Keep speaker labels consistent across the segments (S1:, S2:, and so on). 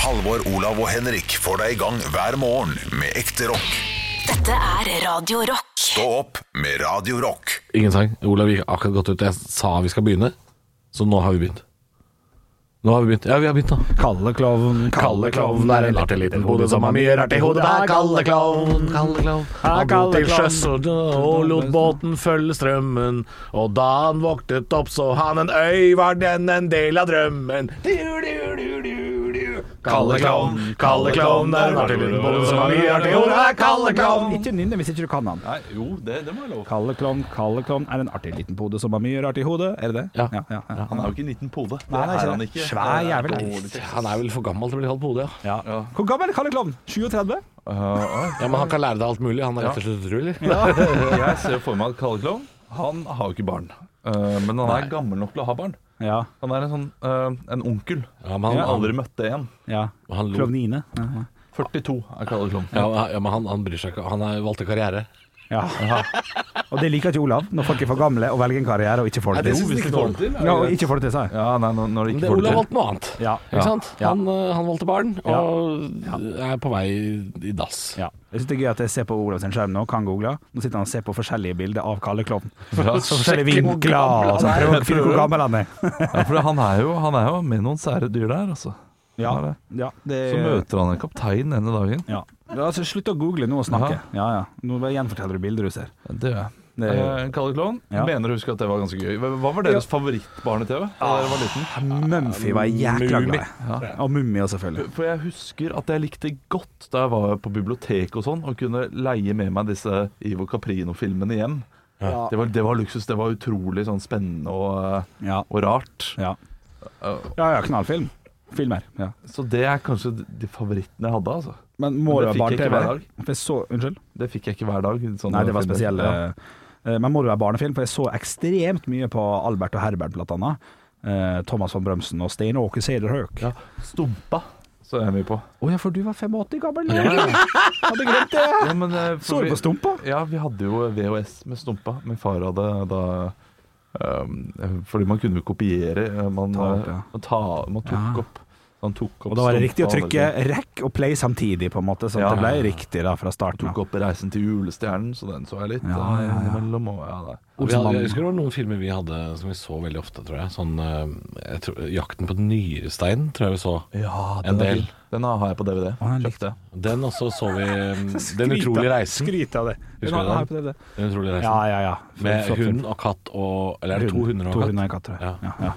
S1: Halvor, Olav og Henrik får deg i gang hver morgen med ekte rock.
S2: Dette er Radio Rock.
S1: Stå opp med Radio Rock.
S3: Ingen sang. Olav gikk akkurat godt ut. Jeg sa vi skal begynne, så nå har vi begynt. Nå har vi begynt. Ja, vi har begynt, da.
S4: Kalle klovn,
S3: Kalle klovn er en artig liten hode som har mye rart i hodet. Det er Kalle klovn. Kalle klovn. Han dro
S4: Kalle
S3: til
S4: klovn.
S3: sjøs og, og lot båten følge strømmen. Og da han våknet opp, så han en øy, var den en del av drømmen. Du, du, du, du, du. Kalle klovn, Kalle klovn er en artig liten hode som har mye rart i hodet. Det er Kalle klovn.
S4: Ikke nynn det hvis ikke du kan han.
S5: Nei, jo, det, det må jeg lov.
S4: Kalle klovn, Kalle klovn er en artig liten pode som har mye rart i hodet. Er det det?
S3: Ja.
S5: Han er jo ikke en liten pode. Det
S4: Nei, nei,
S5: er
S4: ikke
S5: han
S4: det.
S5: ikke.
S4: Svær
S5: Det er
S4: jævel,
S5: dårlig
S4: nei.
S5: tekst.
S3: Han er vel for gammel til å bli halvt på hodet, ja.
S4: Ja. Hvor gammel er Kalle klovn? 37?
S3: Ja, Men han kan lære deg alt mulig. Han er rett og slett utro, eller?
S5: Jeg ser for meg at Kalle Klovn Han har jo ikke barn. Eh, men han er gammel nok til å ha barn.
S4: Ja.
S5: Han er en sånn eh, en onkel
S3: Ja, men han-
S5: som aldri møtte en.
S4: ja.
S3: Han lo.
S4: Klovnine. Ja, ja.
S5: 42 er Kalle Klovn.
S3: Ja, ja, men han, han bryr seg ikke. Han har valgt karriere.
S4: Ja. Og det liker ikke Olav, når folk er for gamle og velger en karriere og ikke får det
S5: Jo,
S4: til.
S5: hvis de får det til. er det
S4: Ja, og
S5: greit.
S4: ikke får det til, sa jeg.
S5: Ja, nei, nå- når de
S3: Men
S5: ikke
S3: det,
S5: får
S3: Olav
S5: det til.
S3: valgte noe annet.
S4: Ja.
S3: Ikke
S4: Ja.
S3: sant?
S4: Ja.
S3: Han, eh, han valgte barn, og er på vei i dass.
S4: Ja. Jeg synes det er gøy at jeg ser på Olav sin skjerm nå, kan google. Nå sitter han og ser på forskjellige bilder av Kalle Klovn.
S5: Ja,
S4: Så forskjellige
S3: sjekker hvor
S4: vinkler,
S3: gammel han
S4: og så
S5: er.
S4: prøver å finne ut hvor gammel han er.
S5: Ja, for han er, jo, han er jo med noen sære dyr der, altså.
S4: Ja,
S5: Han er det.
S4: ja, det
S5: Så møter han en kaptein denne dagen.
S4: ja. Ja, altså, Slutt å google nå og snakke.
S5: Jaha.
S4: Ja, ja. Nå bare gjenforteller du bilder du ser.
S5: Det gjør jeg.
S4: Det er jo-
S5: Eh, Kalle Klovn,
S4: Ja.
S5: mener å huske at det var ganske gøy. Hva var deres favorittbarne-TV da dere var liten?
S4: Mumphy var jeg jækla
S3: Mummi.
S4: glad i. Og Mummi også, selvfølgelig.
S5: For jeg husker at jeg likte godt da jeg var på biblioteket og sånn, og kunne leie med meg disse Ivo Caprino-filmene hjem. Det, var, det var luksus. Det var utrolig sånn spennende og,
S4: Ja.
S5: og rart.
S4: Ja. ja, ja, knallfilm. Filmer. Ja.
S5: Så det er kanskje de favorittene jeg hadde, altså.
S4: Men må
S5: Men
S4: du ha
S5: det fikk jeg ikke
S4: barne-TV?
S5: hver dag.
S4: For jeg så Unnskyld?
S5: Det fikk jeg ikke hver dag. sånne
S4: Nei, det var
S5: filmer.
S4: spesielle
S5: Ja.
S4: Eh, Men må du ha barnefilm? For jeg så ekstremt mye på Albert og Herbert, blant annet. Eh, Thomas von Brømsen og Stein Åke Sederhøk. Å ja.
S5: Stumpa så jeg mye på.
S4: for du var 85 gammel? Hadde glemt det!
S5: Ja, men, eh,
S4: Så
S5: for
S4: du
S5: vi-
S4: på Stumpa?
S5: Ja, vi hadde jo VHS med Stumpa. Min far hadde da ehm, Fordi man kunne jo kopiere. eh, Man,
S4: Ta opp, ja.
S5: eh, man, ta, man tok
S4: Ja.
S5: opp. Man tok opp
S4: Og da var det
S5: Stumpa,
S4: riktig
S5: liksom.
S4: å trykke
S5: eller-
S4: rekk og play samtidig, på en måte. Sånn at
S5: Ja.
S4: det ble riktig da fra starten av.
S5: Tok opp 'Reisen til julestjernen', så den så jeg litt
S4: Ja, ja,
S5: eh,
S4: ja.
S5: innimellom. Og, ja, nei.
S3: Vi hadde,
S4: Olsenmannen.
S3: jeg husker det var noen filmer vi hadde som vi så veldig ofte, tror jeg. Sånn eh, jeg tror, 'Jakten på nyresteinen' tror jeg vi så.
S5: ja,
S3: En
S5: den
S3: del.
S5: er fin. Den har jeg på DVD.
S4: Å, den
S5: Kjøpte
S4: likte jeg.
S3: Den også så vi eh, 'Den utrolige reisen'.
S4: Skryt av det.
S3: Husker du
S4: Ja,
S3: den? Den utrolige reisen.
S4: Ja, ja, ja.
S3: Med
S4: Flott film.
S3: hund og katt og Eller er det to hunder og
S4: To
S3: en
S4: hunder og
S3: katt?
S4: en katt, tror jeg.
S3: Ja.
S4: Ja, ja.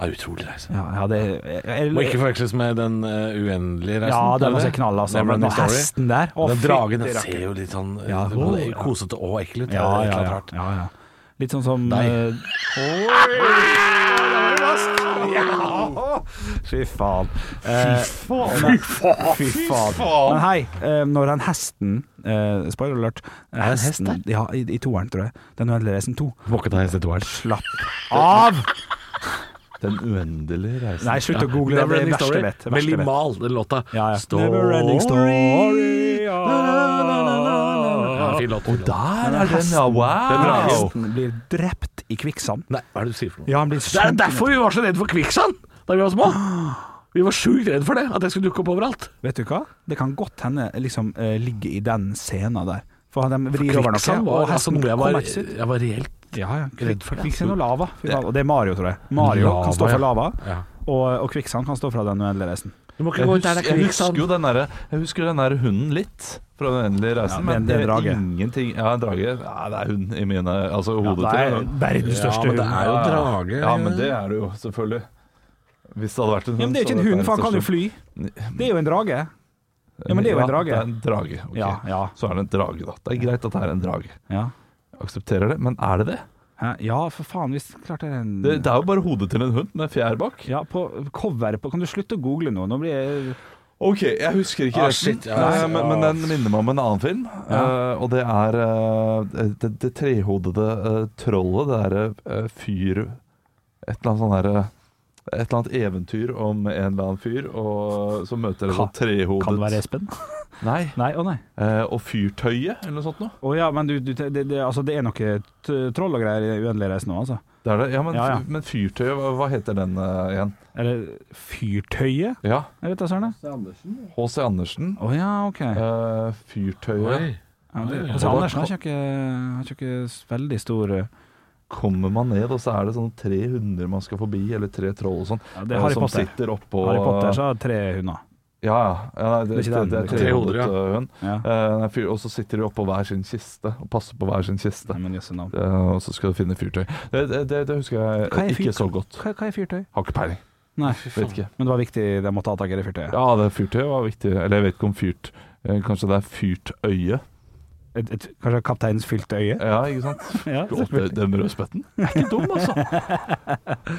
S3: Ja, utrolig reise.
S4: Ja, ja, det jeg- jeg-
S3: Må ikke forveksles med den eh, uendelige reisen.
S4: Ja, den
S3: eller?
S4: var så knall, altså.
S3: Never
S4: Men
S3: Ending
S4: den
S3: Story.
S4: hesten der å,
S3: den
S4: fytti
S3: dragen den
S4: rakker.
S3: ser jo litt sånn ja,
S4: Ja, å, ja.
S3: kosete og ekkel ut.
S4: Ja,
S3: Det er et eller
S4: ja,
S3: annet
S4: ja,
S3: rart.
S4: ja, ja. Litt sånn som
S3: Nei.
S4: eh, Ja! Fy faen. Eh, men- Fy faen. Men hei, eh, når den hesten eh, Spoiler alert. Er
S3: det en hest
S4: Ja, i, i toeren, tror jeg. Den uendelige reisen to.
S3: Må ikke ta hest i toeren.
S4: Slapp av!
S5: Den uendelige reisen.
S4: Nei, slutt å google det.
S3: Never
S4: Det er
S3: Ending
S4: det verste
S3: Story.
S4: jeg vet. Det verste jeg
S3: Veldig
S4: vet.
S3: mal, den låta.
S4: Ja, ja.
S3: Story.
S4: Never-ending story.
S3: Ja, fin låt. Og
S5: Der er den, ja!
S3: Den
S4: Ja,
S3: dragen.
S5: Wow!
S4: Hesten blir drept i kvikksand.
S3: Nei, hva er det du sier for noe?
S4: Ja, han blir
S3: Det er
S4: sunket.
S3: derfor vi var så redde for kvikksand da vi var små. Vi var sjukt redde for det, at det skulle dukke opp overalt.
S4: Vet du hva? Det kan godt hende liksom eh, ligge i den scenen der. For de vrir over noe,
S3: Kvikksand var
S4: og
S3: altså
S4: hesten
S3: noe jeg var,
S4: kommer ikke ut.
S3: jeg var reelt
S4: Ja, ja.
S3: redd for det.
S4: Kvikksand og lava. Fy faen. Og det er Mario, tror jeg. Mario
S3: Lava,
S4: kan stå for
S3: ja.
S4: lava,
S3: Ja.
S4: og, og kvikksand kan stå fra den uendelige reisen.
S3: Du må
S5: Jeg
S3: ikke gå ut der
S5: husker,
S3: det er
S5: jeg husker
S3: kvikksand.
S5: jo
S4: sånn.
S5: den derre Jeg husker den der hunden litt fra Den endelige reisen,
S4: Ja, men
S5: men
S4: det er
S5: det
S4: en drage.
S5: er ingenting Ja, en drage. Ja, det er hund i mine Altså hodet
S4: det
S5: til
S4: er
S5: henne.
S4: verdens største
S3: men det
S4: hund.
S3: er jo drage.
S5: Ja, men det er det jo, selvfølgelig. Hvis det hadde vært en hund
S4: Ja, men det er jo ikke en hund, for han kan jo fly. Det er jo en drage. Ja, men det er jo en drage.
S5: Det er en drage. ok.
S4: Ja, ja.
S5: Så er det en drage, da. Det er greit at det er en drage.
S4: Ja.
S5: Jeg aksepterer det, men er det det?
S4: Hæ? ja, for faen, hvis klart det er en
S5: Det, det er jo bare hodet til en hund med fjær bak.
S4: Ja, på coveret på Kan du slutte å google nå? Nå blir jeg
S5: OK, jeg husker ikke
S3: Ah,
S5: resten,
S3: shit, ja.
S5: eh, men, men den minner meg om en annen film. eh, og det er eh, det, det trehodede eh, trollet, det derre eh, fyr Et eller annet sånn derre et eller annet eventyr om en eller annen fyr og, eh, som møter et
S4: Kan-
S5: sånt trehodet
S4: Kan det være Espen?
S5: Nei.
S4: Nei, å nei.
S5: eh, og fyrtøyet, eller noe sånt noe.
S4: eh, Å ja, men du, du det, det, altså, det er noe t- troll og greier i Uendelig reise nå, altså.
S5: Det er det. Ja, men,
S4: Ja, ja.
S5: men fyrtøyet, hva, hva heter den eh, igjen?
S4: Eller Fyrtøyet?
S5: Ja,
S4: Jeg vet da søren. jeg.
S5: H.C. Andersen.
S4: Å ja, OK. Ja,
S5: eh, fyrtøyet.
S3: Oi.
S4: det,
S3: ja.
S4: altså, Andersen har ikke, har ikke veldig stor eh, ja,
S5: Kommer man ned, og så er det sånn 300 man skal forbi, eller tre troll og sånn.
S4: Det
S5: eh,
S4: er Harry
S5: som
S4: Potter.
S5: sitter oppå
S4: Harry Potter så har tre hunder.
S5: Ja, ja. ja nei, det,
S4: Det er
S5: det,
S4: ikke den.
S5: det er
S4: Tre
S3: hoder,
S5: trehodet
S3: ja.
S5: øh, hund.
S4: Ja.
S5: Eh, nei, fyr- og så sitter de oppå hver sin kiste og passer på hver sin kiste.
S4: Nei, men jøsse navn.
S5: Eh, og så skal du finne fyrtøy. Det, det, det, det husker jeg
S4: Hva er
S5: ikke
S4: fyrtøy?
S5: så godt.
S4: Hva, hva er fyrtøy?
S5: Har ikke peiling.
S4: Nei,
S5: Vet ikke.
S4: men det var viktig, de måtte ha tak i det fyrtøyet.
S5: Ja, det fyrtøy var viktig. Eller jeg vet ikke om fyrt eh, Kanskje det er fyrtøye?
S4: Et, et, kanskje kapteinens fylte øye?
S5: Ja, ikke sant?
S4: Ja,
S5: Å, det- Den brødspøtten er ikke dum, altså.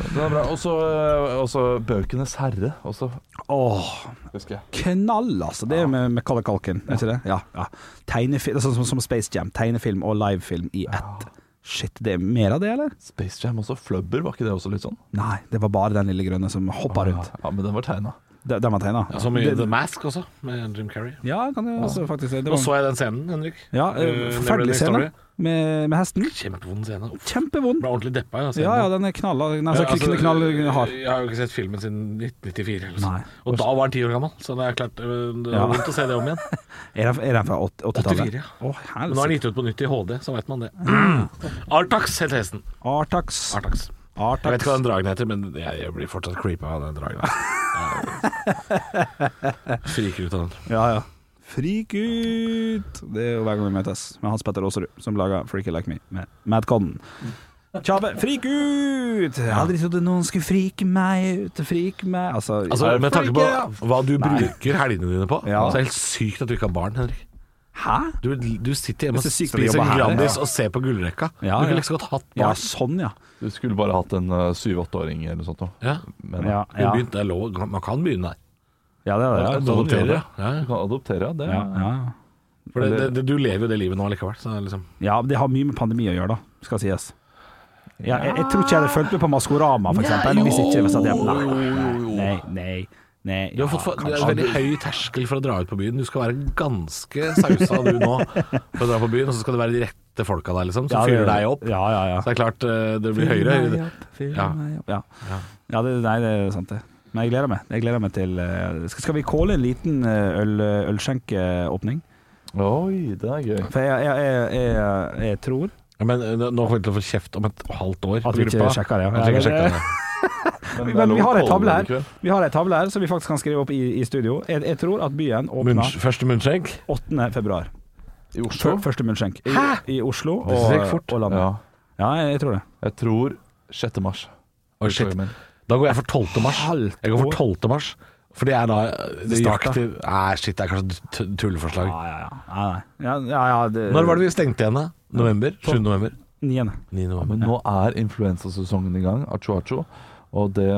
S5: Den er bra. Og så eh, og så Bøkenes herre også,
S4: Åh,
S5: husker jeg.
S4: knall, altså! Det er med Macaulay Culkin, er ikke det? Ja. ja. Tegnefilm, det er sånn som, som Space Jam. Tegnefilm og livefilm i ett. Shit, det er mer av det, eller?
S5: Space Jam også. Flubber, var ikke det også litt sånn?
S4: Nei, det var bare den lille grønne som hoppa rundt.
S5: Ja, men den var tegna.
S4: De, den var tegna.
S3: Som i The Mask også, med Jim Carrey.
S4: Ja, kan du også faktisk det
S3: Nå
S4: var,
S3: så jeg den scenen, Henrik.
S4: ja, eh,
S3: Eh, Neverending
S4: Forferdelig scene
S3: Story.
S4: med, med hesten.
S3: Kjempevond scene. Uff,
S4: Kjempevond.
S3: Ble ordentlig deppa. jeg, av
S4: Ja, ja,
S3: scenen.
S4: den er knalla Nei, altså,
S3: Ja, altså,
S4: knall, hard.
S3: Jeg har jo ikke sett filmen siden 1994. Eller
S4: Nei.
S3: sånn. og da var han ti år gammel, så det er klart øh, det
S4: Ja.
S3: var vondt å se det om igjen.
S4: Er den, er den fra åt-
S3: 84,
S4: 80-tallet?
S3: ja.
S4: Å,
S3: Men nå er den
S4: helsike.
S3: gitt ut på nytt i HD, så vet man det. Artax het hesten.
S4: Artax.
S3: Ah. Artax. Jeg vet
S4: Artax.
S3: ikke hva den dragen heter, men jeg, jeg blir fortsatt creepa av den dragen. Jeg Friker ut av den.
S4: Ja, ja. Freak ut! Det er jo hver gang vi møtes med Hans Petter Aasrud, som laga 'Freaky Like Me' med Mad Codden. Tjabe, freak ut! Jeg hadde ikke trodd at noen skulle frike meg ut. Frike meg Altså,
S3: Altså,
S4: jeg-
S3: med tanke
S4: freak,
S3: på hva du bruker helgene dine på,
S4: Ja.
S3: så er det helt sykt at du ikke har barn, Henrik.
S4: Hæ?
S3: Du, du sitter hjemme og
S4: Hvis det er sykt å
S3: spiser
S4: jobbe her,
S3: Grandis
S4: ja.
S3: og ser på gullrekka.
S4: Ja,
S3: du kunne
S4: ja.
S3: liksom godt hatt
S4: Ja,
S3: barn.
S4: sånn, ja.
S5: Du skulle bare hatt en eh, syv-åtteåring eller noe sånt. nå.
S3: Ja.
S5: Men,
S4: Ja,
S3: Du
S4: ja.
S3: begynte- det er lov, man kan begynne der.
S4: ja det er det.
S5: noen gjør
S3: Adoptere,
S5: det.
S3: ja.
S5: Du
S3: ja.
S5: kan adoptere, ja, det.
S4: Ja, ja.
S3: For det, det, det, du lever jo det livet nå likevel. Så det er liksom.
S4: ja, det har mye med pandemi å gjøre, da, skal sies. Ja, jeg, jeg tror ikke jeg hadde fulgt med på Maskorama, for eksempel. Hvis ikke, hvis at jeg, nei, nei, nei, nei.
S3: Du har fått for, det er
S4: kanskje.
S3: en veldig høy terskel for å dra ut på byen. Du skal være ganske sausa du nå for å dra på byen, og så skal det være de rette folka der, liksom, som
S4: Ja, det-
S3: fyller deg opp.
S4: Ja, ja, ja.
S3: Så det er klart eh, det blir høyere.
S4: Fyll meg opp, fyll
S3: Ja.
S4: meg opp. Ja. ja, det, nei, det er sant det. Men jeg gleder meg. Jeg gleder meg til eh, Skal, skal vi calle en liten eh, øl, ølskjenkeåpning?
S5: Oi, det er gøy.
S4: For jeg, jeg, jeg, jeg, jeg tror
S3: Ja, Men eh, nå kommer vi til å få kjeft om et halvt år.
S4: At vi
S3: på
S4: ikke
S3: gruppa.
S4: sjekker det, ja.
S3: At vi ikke
S4: Ja, det-
S3: sjekker det.
S5: Men, det er
S4: Men
S5: lov
S4: vi
S5: å
S4: har ei
S5: kalle
S4: tavle
S5: det det
S4: her Vi har ei tavle her som vi faktisk kan skrive opp i, i studio. Jeg, jeg tror at byen åpner
S3: Munns- Første munnskjenk.
S4: 8. februar.
S5: likevel. I Oslo.
S4: Før, første munnskjenk. I, I Oslo og,
S5: Det gikk fort.
S4: og landet.
S5: Ja.
S4: Ja. jeg, jeg tror det.
S5: Jeg tror 6. mars.
S3: Oi, shit. Da går jeg for 12. mars.
S4: Halvt
S3: Jeg går
S4: år.
S3: for 12. mars. For det er da det
S4: starta.
S3: nøyaktig Nei, shit, det er kanskje et tu- tulleforslag.
S4: Ja, ja, ja. Nei, nei. Ja, ja, ja, Ah, det,
S3: Når var det vi stengte igjen, da? November? 7. november?
S4: Niende.
S3: 9. november.
S5: Men nå er influensasesongen i gang, acho-acho, og det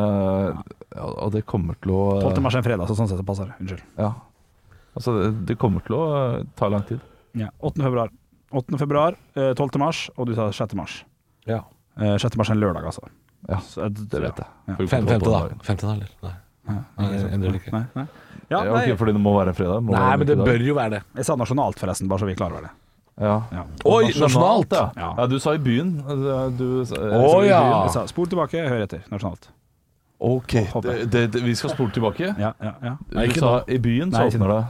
S5: Og det kommer til å
S4: 12. mars er en fredag, så sånn sett så passer det. Unnskyld.
S5: Ja. Altså, det- det kommer til å eh, ta lang tid.
S4: Ja, 8. februar. 8. februar, eh, 12. mars, og du sa 6. mars.
S5: Ja.
S4: Eh, 6. mars er en lørdag, altså.
S5: Ja,
S4: Så,
S5: Det vet jeg.
S4: Ja.
S5: Får vi
S3: Fem,
S5: kontroll
S3: femte,
S5: på
S3: da.
S5: den dagen.
S3: Femte, da, eller? Nei. Nei, endrer det ikke.
S4: Nei, nei. Ja,
S5: Ja,
S4: nei,
S5: ok, fordi det må være en fredag. må
S3: Nei,
S5: være
S3: men det
S5: en fredag.
S3: bør jo være det.
S4: Jeg sa nasjonalt, forresten, bare så vi er klar over det.
S5: ja.
S4: Ja.
S3: Oi, nasjonalt!
S5: ja.
S4: Ja.
S5: ja. Du sa i byen. Du- Du, sa- jeg
S3: Å,
S5: sa i
S3: ja.
S5: byen.
S4: Jeg sa, spol tilbake, hør etter. Nasjonalt.
S5: Ok, det, det, det, vi skal spole tilbake.
S4: Ja, ja, ja.
S5: Du
S3: ikke
S5: sa i byen, så
S4: Nei, ikke
S5: åpner det.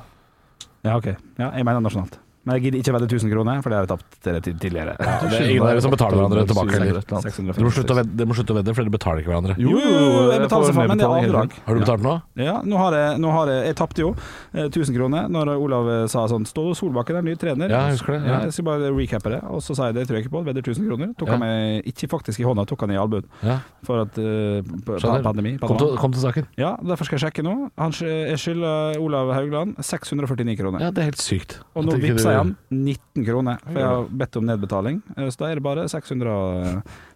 S4: ja ok. Ja, jeg mener nasjonalt. Men jeg gidder ikke vedde 1000 kroner, for det har jeg tapt til- til- tidligere.
S3: Ja, det er ingen av dere som betaler hverandre tilbake heller. Dere må
S4: 650.
S3: slutte å vedde, dere må slutte å vedde, for dere betaler ikke hverandre.
S4: Jo, jo, jo, jeg betaler så faen, men det er avdrag.
S3: Har du betalt nå?
S4: Ja, nå har jeg, nå har jeg, jeg tapte jo eh, 1000 kroner når Olav eh, sa sånn Ståle Solbakken er ny trener.
S3: Ja, jeg husker det,
S4: Ja.
S3: ja.
S4: jeg skal bare recappe det, og så sa jeg det tror jeg ikke på. Vedder 1000 kroner. Tok
S3: Ja.
S4: han meg ikke faktisk i hånda, tok han i albuen
S3: Ja.
S4: for at eh, p-
S3: Skjønner.
S4: pandemi.
S3: Kom til,
S4: pandemi.
S3: kom til saken.
S4: Ja, derfor skal jeg sjekke nå. Han, sk- jeg skylder Olav Haugland 649 kroner.
S3: Ja, det er helt sykt.
S4: Og nå
S3: At ikke
S4: vippser
S3: du-
S4: jeg han 19 kroner, for jeg har bedt om nedbetaling. Eh, Så da er det bare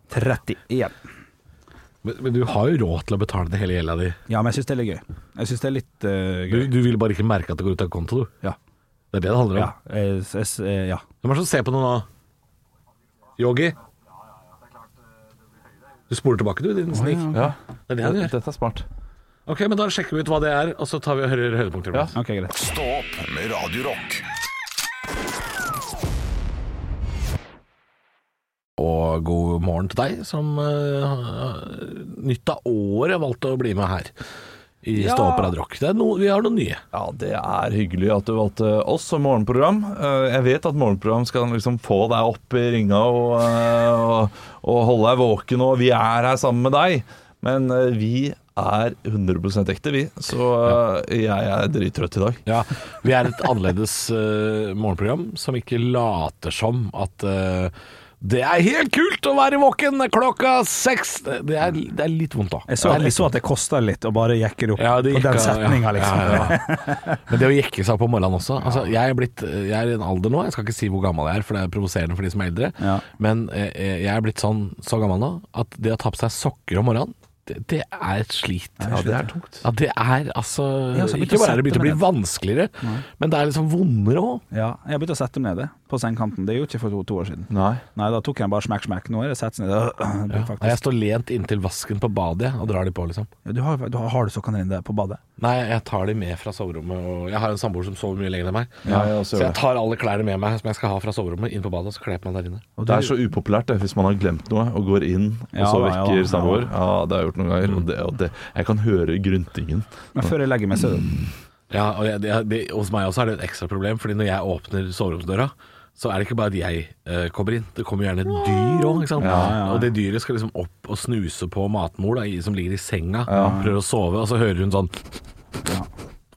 S4: 630 igjen.
S3: Men, men du har jo råd til å betale det hele gjelda di.
S4: Ja, men jeg syns det er litt gøy. Jeg syns det er litt eh,
S3: Du,
S4: gøy.
S3: du vil bare ikke merke at det går ut av konto, du.
S4: Ja.
S3: Det er det det handler om.
S4: Ja. Jeg, jeg, jeg, ja.
S3: Hvem er det som ser på noe nå? Yogi? Du spoler tilbake, du, din snik.
S5: Ja,
S3: Det er det han
S5: det-
S3: gjør.
S5: dette er smart.
S3: Ok, men da sjekker vi ut hva det er, og så tar vi og hører høydepunkter.
S5: Ja.
S4: OK, greit.
S1: Stå opp med Radio Rock.
S3: og god morgen til deg som eh, nytt av året valgte å bli med her i
S5: Ja.
S3: Stå opp Radio Rock. Det er no, vi har noen nye.
S5: Ja, det er hyggelig at du valgte oss som morgenprogram. Eh, Jeg vet at morgenprogram skal liksom få deg opp i ringa og, eh, og, og holde deg våken, og vi er her sammen med deg. Men eh, vi er 100 ekte, vi. Så eh, jeg er drittrøtt i dag.
S3: Ja, Vi er et annerledes eh, morgenprogram som ikke later som at eh, det er helt kult å være våken klokka seks. Det er, det er litt vondt, da.
S4: Jeg så,
S3: det er
S4: jeg
S3: litt sånn.
S4: så at det kosta litt å bare jekke det opp
S3: Ja, det
S4: på
S3: gikk-
S4: den setninga, liksom.
S3: Ja, ja, ja. Men det å jekke seg opp om morgenen også altså, jeg, er blitt, jeg er i en alder nå, jeg skal ikke si hvor gammel jeg er, for det er provoserende for de som er eldre,
S4: Ja.
S3: men eh, eh, jeg er blitt sånn, så gammel nå at det å ta på seg sokker om morgenen, det, det er et slit.
S5: Ja, det er tungt.
S3: Ja, det er altså
S4: Ja, så har jeg begynt
S3: Ikke
S4: å
S3: bare er det begynt å
S4: sette
S3: bli
S4: meg
S3: vanskeligere, men det er liksom vondere òg.
S4: Ja, jeg har begynt å sette meg ned det, på sengekanten. Det er jo ikke for to, to år siden.
S5: Nei.
S4: Nei, da tok jeg bare smekk, smekk. Nå er det sett seg ned. Øh,
S3: Ja.
S4: faktisk.
S3: Jeg står lent inntil vasken på badet jeg, og drar de på, liksom.
S4: Ja, du har, du har, har du sokkene dine der på badet?
S3: Nei, jeg tar de med fra soverommet, og jeg har en samboer som sover mye lenger enn meg.
S5: Ja, jeg også
S3: Så
S5: gjør
S3: jeg
S5: det.
S3: tar alle klærne med meg som jeg skal ha fra soverommet, inn på badet, og så kler jeg på meg der inne.
S4: Og
S5: Det er så upopulært det, hvis man har glemt noe og går inn, og
S4: Ja,
S5: så
S4: ja,
S5: vekker
S4: ja.
S5: samboer. Ja, det har jeg gjort noen ganger.
S3: Mm.
S5: Og det, og det, jeg kan høre gruntingen.
S4: Men før jeg legger meg, så er
S3: Ja, og jeg, det, det, hos meg også er det et ekstra problem, fordi når jeg åpner soveromsdøra, så er det ikke bare at jeg eh, kommer inn, det kommer gjerne et dyr òg.
S4: Ja, ja.
S3: Og det dyret skal liksom opp og snuse på matmor da, i- som ligger i senga, prøver å sove, og så hører hun sånn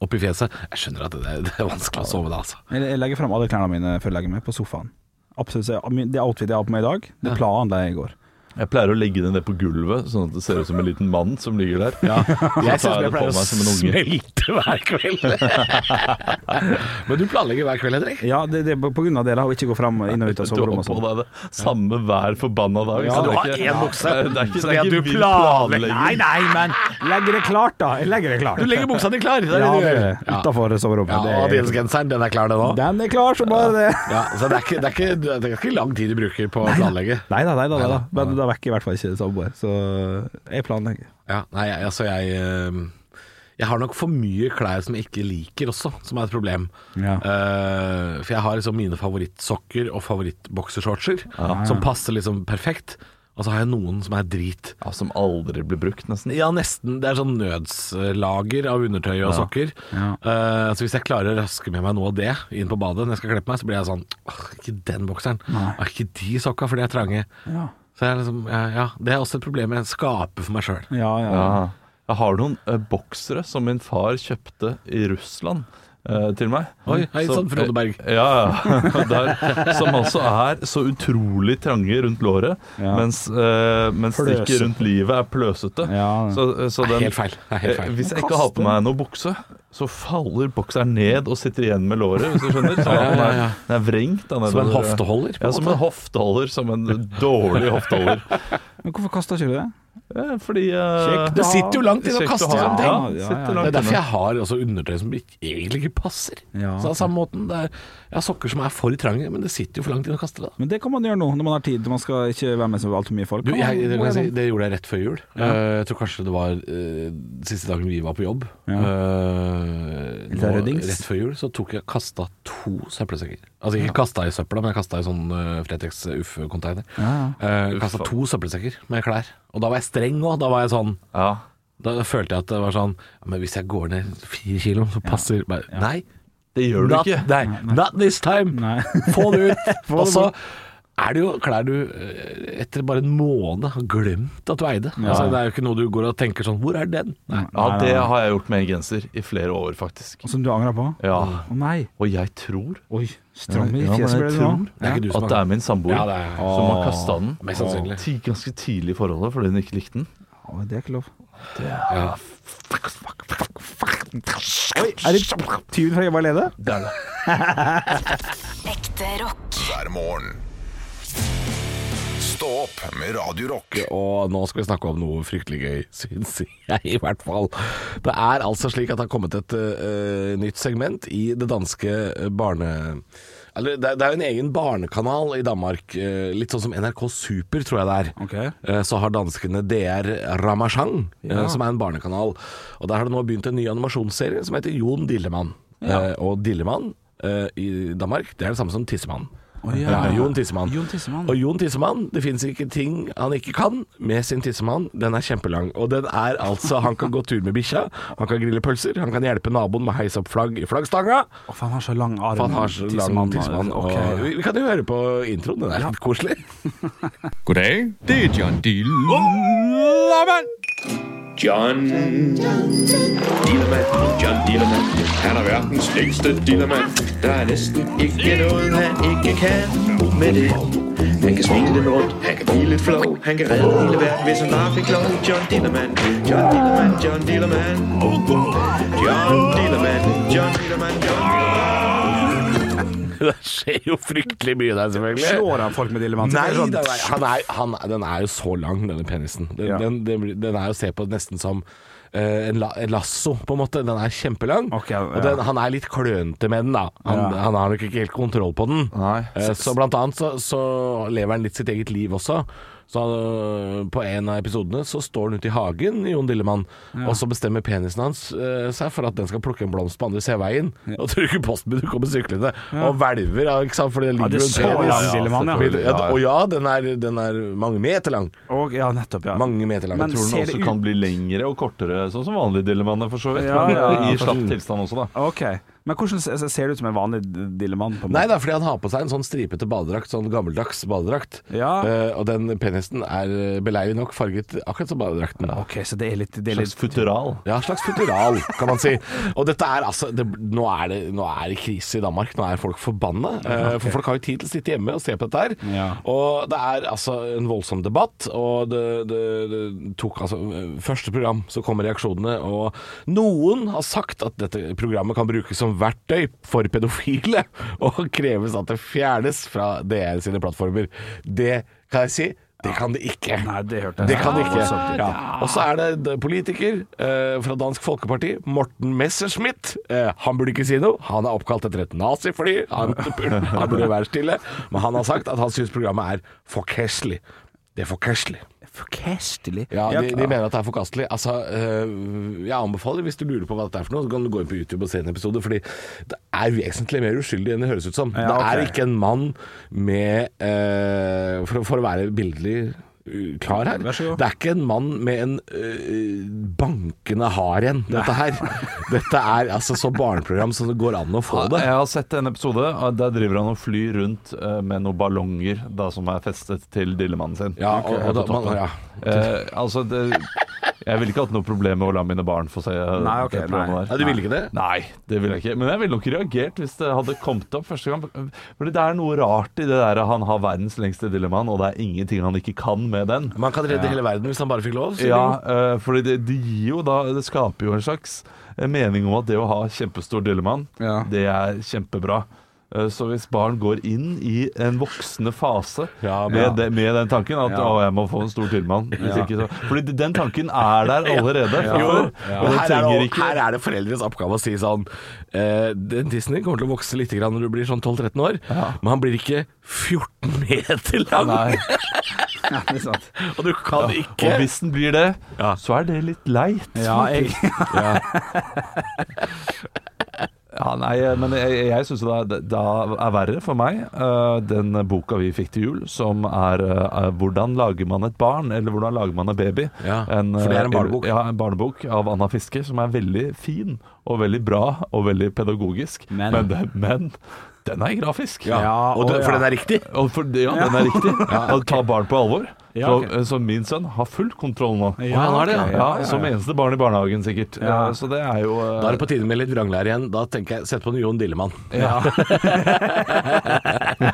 S3: opp i fjeset. Jeg skjønner at det, det er vanskelig å sove da, altså.
S4: jeg, jeg legger fram alle klærne mine før jeg legger meg, på sofaen. Absolutt, så jeg- Det outfitet jeg har på meg i dag, det planla jeg i går.
S5: Jeg pleier å legge det ned på gulvet, sånn at det ser ut som en liten mann som ligger der.
S3: Jeg syns
S5: tar jeg
S3: Sånn jeg
S5: det på
S3: pleier å
S5: meg som en unge.
S3: smelte hver kveld. Men du planlegger hver kveld, Henrik?
S4: Ja, det, det, på grunn av det, da, og ikke gå fram inn og ut av
S5: Du har
S4: soverommet og
S5: på
S4: sånn.
S5: deg det samme hver forbanna dag.
S3: Ja,
S5: så
S3: du
S5: det er
S3: har
S5: ikke-
S3: én bukse.
S5: Det er- Det er ikke,
S3: Så
S5: det er
S3: det at
S5: ikke
S3: du
S5: vill
S3: planlegger-
S4: Nei,
S5: planlegging.
S4: nei, men legger det klart, da. Jeg legger det klart.
S3: Du legger buksa di klar. Det er
S4: Ja,
S3: det du
S4: det
S3: gjør.
S4: er utenfor soverommet.
S3: Ja, og
S4: det er-
S3: Adidas-genseren, den er klar, den òg.
S4: den er klar som bare det.
S3: Ja, så det er, ikke, det, er ikke, det er ikke lang tid du bruker på å planlegge.
S4: Nei da, nei da. Nei da. Men da vekker jeg i hvert fall ikke samboer. Så jeg planlegger.
S3: Ja, nei, jeg- altså jeg eh, Jeg har nok for mye klær som jeg ikke liker også, som er et problem.
S4: Ja.
S3: Eh, for jeg har liksom mine favorittsokker og favorittboksershortser, som passer liksom perfekt. Og så har jeg noen som er drit.
S5: Ja, som aldri blir brukt, nesten.
S3: Ja, nesten. Det er sånn nødslager av undertøy og sokker.
S4: Ja.
S3: Eh, så hvis jeg klarer å raske med meg noe av det inn på badet når jeg skal kle på meg, så blir jeg sånn Åh, ikke den bokseren. Åh, ikke de sokka, for de er trange.
S4: Ja.
S3: Så jeg er liksom, ja, ja, det er også et problem jeg skaper for meg sjøl.
S4: Ja, ja.
S5: Ja. Jeg har noen eh, boksere som min far kjøpte i Russland. eh, til meg.
S3: Oi, hei
S5: Som-
S3: sann, Frode Berg.
S5: eh, Ja, ja. Der, som altså er så utrolig trange rundt låret,
S4: Ja.
S5: mens, eh, mens
S4: Pløse.
S5: strikket rundt livet er pløsete.
S4: Ja.
S5: Så, så den,
S3: Helt feil. Det er helt
S5: Eh,
S3: feil.
S5: Hvis jeg ikke har på meg noe bukse, så faller bokseren ned og sitter igjen med låret, hvis du skjønner. Så
S3: Ja,
S5: den,
S3: ja,
S5: er,
S3: ja.
S5: den er vrengt. da
S3: Som en
S5: nedover.
S3: hofteholder, på en
S5: Ja, som en
S3: måte.
S5: hofteholder. Som en dårlig hofteholder.
S4: Men hvorfor kasta ikke du det?
S5: Eh, Fordi eh,
S4: Kjekt
S3: Det sitter jo langt inne og
S5: kjekt å
S3: kaster
S5: ha.
S3: sånne
S5: Ja,
S3: ting.
S4: ja,
S5: sitter
S4: ja.
S3: Det er
S5: langt
S3: derfor
S5: inne.
S3: jeg har også undertøy som ikke- egentlig ikke passer.
S4: Ja.
S3: Så det er samme måten. Det er, jeg har sokker som er for trange, men det sitter jo for langt inn og kaster det. da.
S4: Men det kan man gjøre nå, når man har tid. Man skal ikke være med så altfor mye folk.
S3: Du,
S4: Ja,
S3: jeg, det, kan jeg si,
S4: man-
S3: det gjorde jeg rett før jul. Eh, jeg tror kanskje det var eh, siste dagen vi var på jobb.
S4: Ja.
S3: Eh,
S4: Litt
S3: nå,
S4: ruddings.
S3: rett før jul så tok jeg kasta to søppelsekker. Altså ikke kasta i søpla, men jeg kasta i sånn eh, Fretex UF-container.
S4: Ja,
S3: kasta to søppelsekker med klær. Og da var jeg streng òg. Da var jeg sånn
S5: Ja.
S3: Da følte jeg at det var sånn ja, Men hvis jeg går ned fire kilo, så passer bare, Nei,
S5: Det gjør du
S3: not,
S5: ikke.
S3: nei, not this time!
S4: Nei.
S3: Få det ut! Og så er det jo klær du eh, etter bare en måned har glemt at du eide. Altså, det er jo ikke noe du går og tenker sånn Hvor er den? Nei.
S5: Ja, det har jeg gjort med en genser i flere år, faktisk.
S3: Altså-
S4: Som du angrer på?
S5: Ja.
S4: Å nei.
S5: Og jeg tror
S4: Oi, stram i
S5: Ja, men jeg
S4: fjeset ble det nå.
S5: tror-
S3: Det er ikke du
S5: At
S3: som
S5: det
S3: har
S5: er min samboer
S3: Ja, det er-
S5: som har kasta den.
S3: Mest sannsynlig.
S5: Ti- Ganske tidlig i forholdet fordi hun ikke likte den.
S4: Ja, men det er ikke lov.
S3: ja.
S4: Oi, er det tyven fra Jobba alene?
S5: Det er det.
S2: Ekte rock.
S1: hver morgen. Stå opp med Radio Rock.
S3: Og nå skal vi snakke om noe fryktelig gøy, syns jeg i hvert fall. Det er altså slik at det har kommet et eh, nytt segment i det danske eh, barne... Eller det, er- det er jo en egen barnekanal i Danmark, eh, litt sånn som NRK Super, tror jeg det er.
S4: Ok.
S3: Eh, Så har danskene DR Ramachang, eh, som er en barnekanal. Og der har det nå begynt en ny animasjonsserie som heter Jon Dillemann. Eh, Og Dillemann eh, i Danmark, det er det samme som Tissemann. Ja, Jon Tissemann.
S4: Jon Tissemann.
S3: Og Jon Tissemann, det fins ikke ting han ikke kan med sin tissemann. Den er kjempelang. Og den er altså Han kan gå tur med bikkja, han kan grille pølser, han kan hjelpe naboen med å heise opp flagg i flaggstanga.
S4: Å, for han har så lang arm.
S3: For han har så lang tissemann. Og,
S4: altså. Ok.
S3: vi, vi kan jo høre på introen, den er litt koselig.
S6: Goddag, det er John D. Lavand.
S7: John Dillermand. John Dillermand. Han er verdens længste dillermand. Der er næsten ikke noget, han ikke kan med det. Han kan svinge den rundt, han kan blive lidt flov, han kan redde hele verden, hvis han bare fik lov. John Dillermand, John Dillermand, John Dillermand. John Dillermand, John Dillermand, John
S3: Det skjer jo fryktelig mye der, selvfølgelig.
S4: Slår han folk med dilemma?
S3: Nei, den er, han er, han, er- den er jo så lang, denne penisen. Den,
S4: Ja.
S3: den, den, blir- den er jo å se på nesten som eh, en, la, en lasso, på en måte. Den er kjempelang.
S4: Ok, ja.
S3: Og den, han er litt klønete med den, da. Han,
S4: Ja.
S3: han har nok ikke helt kontroll på den.
S5: Nei.
S3: Eh, Så blant annet så, så lever han litt sitt eget liv også. Så øh, på en av episodene så står han ute i hagen, Jon Dillemann, og så bestemmer penisen hans øh, seg for at den skal plukke en blomst på andre seveien, og tror ikke postbudet kommer syklende, og hvelver, ja, ikke sant, for det ligger
S4: det
S3: jo
S4: så
S3: en penis.
S4: lang Dillemann, ja.
S3: Selvfølgelig. ja. Og ja, den er, den er mange meter lang.
S4: Og, ja, nettopp, ja.
S3: Mange meter lang.
S4: Men
S5: Jeg tror
S4: ser
S5: den
S4: det
S5: også
S4: ut-
S5: kan bli lengre og kortere, sånn som vanlige dilemmaer for så vidt.
S4: Ja,
S5: men
S4: ja, ja,
S5: i slapp tilstand også, da.
S4: Ok. Men hvordan se- ser det ut som en vanlig dilemma?
S3: Nei, det er fordi han har på seg en sånn stripete badedrakt, sånn gammeldags badedrakt.
S4: Ja.
S3: Eh, og den penisen er eh, beleilig nok farget akkurat som badedrakten.
S4: Ok, så det er litt, det er
S5: Slags
S4: litt
S5: futteral.
S3: Ja, slags futural, kan man si. Og dette er altså det, nå, er det, nå er det krise i Danmark. Nå er folk forbanna. Eh, For folk har jo tid til å sitte hjemme og se på dette her.
S4: Ja.
S3: Og det er altså en voldsom debatt, og det, det, det tok altså eh, Første program, så kommer reaksjonene, og noen har sagt at dette programmet kan brukes som verktøy for pedofile, og kreves at det fjernes fra DR sine plattformer. Det kan jeg si. Det kan det ikke.
S4: Nei, det hørte jeg.
S3: Det kan
S4: Ja,
S3: det ikke.
S4: voldsomt.
S3: Ja. Og så er det d- politiker eh, fra Dansk Folkeparti, Morten Messerschmidt. Eh, han burde ikke si noe. Han er oppkalt etter et nazifly. Han, burde- han burde være stille. Men han har sagt at han syns programmet er forkastelig. Det er forkastelig.
S4: Forkastelig.
S3: Ja,
S4: Ja,
S3: de, de mener at det er forkastelig. Altså, øh, jeg anbefaler, hvis du lurer på hva dette er for noe, så kan du gå inn på YouTube og se en episode, fordi det er vesentlig mer uskyldig enn det høres ut som.
S4: Ja,
S3: Det er
S4: ok.
S3: ikke en mann med øh, for, å- for å være bildelig øh, klar her.
S4: Vær så god.
S3: Det er ikke en mann med en øh, bankende hard en, dette her. Dette er altså så barneprogram som det går an å få det.
S5: Jeg har sett en episode. og Der driver han og flyr rundt eh, med noen ballonger da, som er festet til dillemannen sin.
S3: Ja, og, og da,
S5: På toppen.
S3: man, ja.
S5: Eh, altså, det, jeg ville ikke hatt noe problem med å la mine barn få se eh,
S4: Nei, ok,
S5: det programmet
S3: Nei,
S5: der.
S3: du ville ikke det?
S5: Nei, det ville jeg ikke. Men jeg ville nok reagert hvis det hadde kommet opp første gang. Fordi det er noe rart i det der han har verdens lengste dilemma, og det er ingenting han ikke kan med den.
S3: Man kan redde hele verden hvis han bare fikk lov. sier
S5: Ja,
S3: de.
S5: eh, fordi det, det gir jo da Det skaper jo en slags eh, mening om at det å ha kjempestor dillemann,
S4: Ja.
S5: det er kjempebra. Eh, Så hvis barn går inn i en voksende fase
S3: Ja,
S5: med, det, med den tanken at
S4: Ja.
S5: 'å, jeg må få en stor dillemann'. hvis ikke så- Fordi den tanken er der allerede. fra
S3: Jo, og
S5: før, Og den
S3: her, er
S5: trenger
S3: det,
S5: ikke
S3: her er det foreldres oppgave å si sånn eh, Den Disney kommer til å vokse litt grann når du blir sånn 12-13 år, men han blir ikke 14 meter lang,
S5: Nei.
S4: Ja, det er sant.
S3: og du kan ikke
S5: Og hvis den blir det,
S3: Ja.
S5: så er det litt leit.
S4: Ja, jeg,
S5: Ja, nei, men jeg, jeg syns det, er- det er verre for meg, eh, den boka vi fikk til jul, som er eh, 'Hvordan lager man et barn', eller 'Hvordan lager man en baby'.
S3: Ja,
S5: eh,
S3: for det er en barnebok.
S5: Ja, en barnebok av Anna Fiske, som er veldig fin og veldig bra og veldig pedagogisk.
S4: Men-
S5: men, det- men den er grafisk.
S3: ja,
S4: Ja,
S3: og du,
S4: og
S3: For
S4: ja.
S3: den er riktig.
S5: Og for, ja, den er riktig. Og Ta barn på alvor.
S4: Ja,
S5: Så-
S4: ok.
S5: eh, så, min sønn har full kontroll nå.
S4: Ja, han har det, ja.
S5: ja, Som eneste barn i barnehagen, sikkert.
S4: Ja.
S5: Eh, Så det er jo eh,
S3: Da er det på tide med litt vranglære igjen. Da tenker jeg Sett på en Jon Dillemann.
S5: ja, det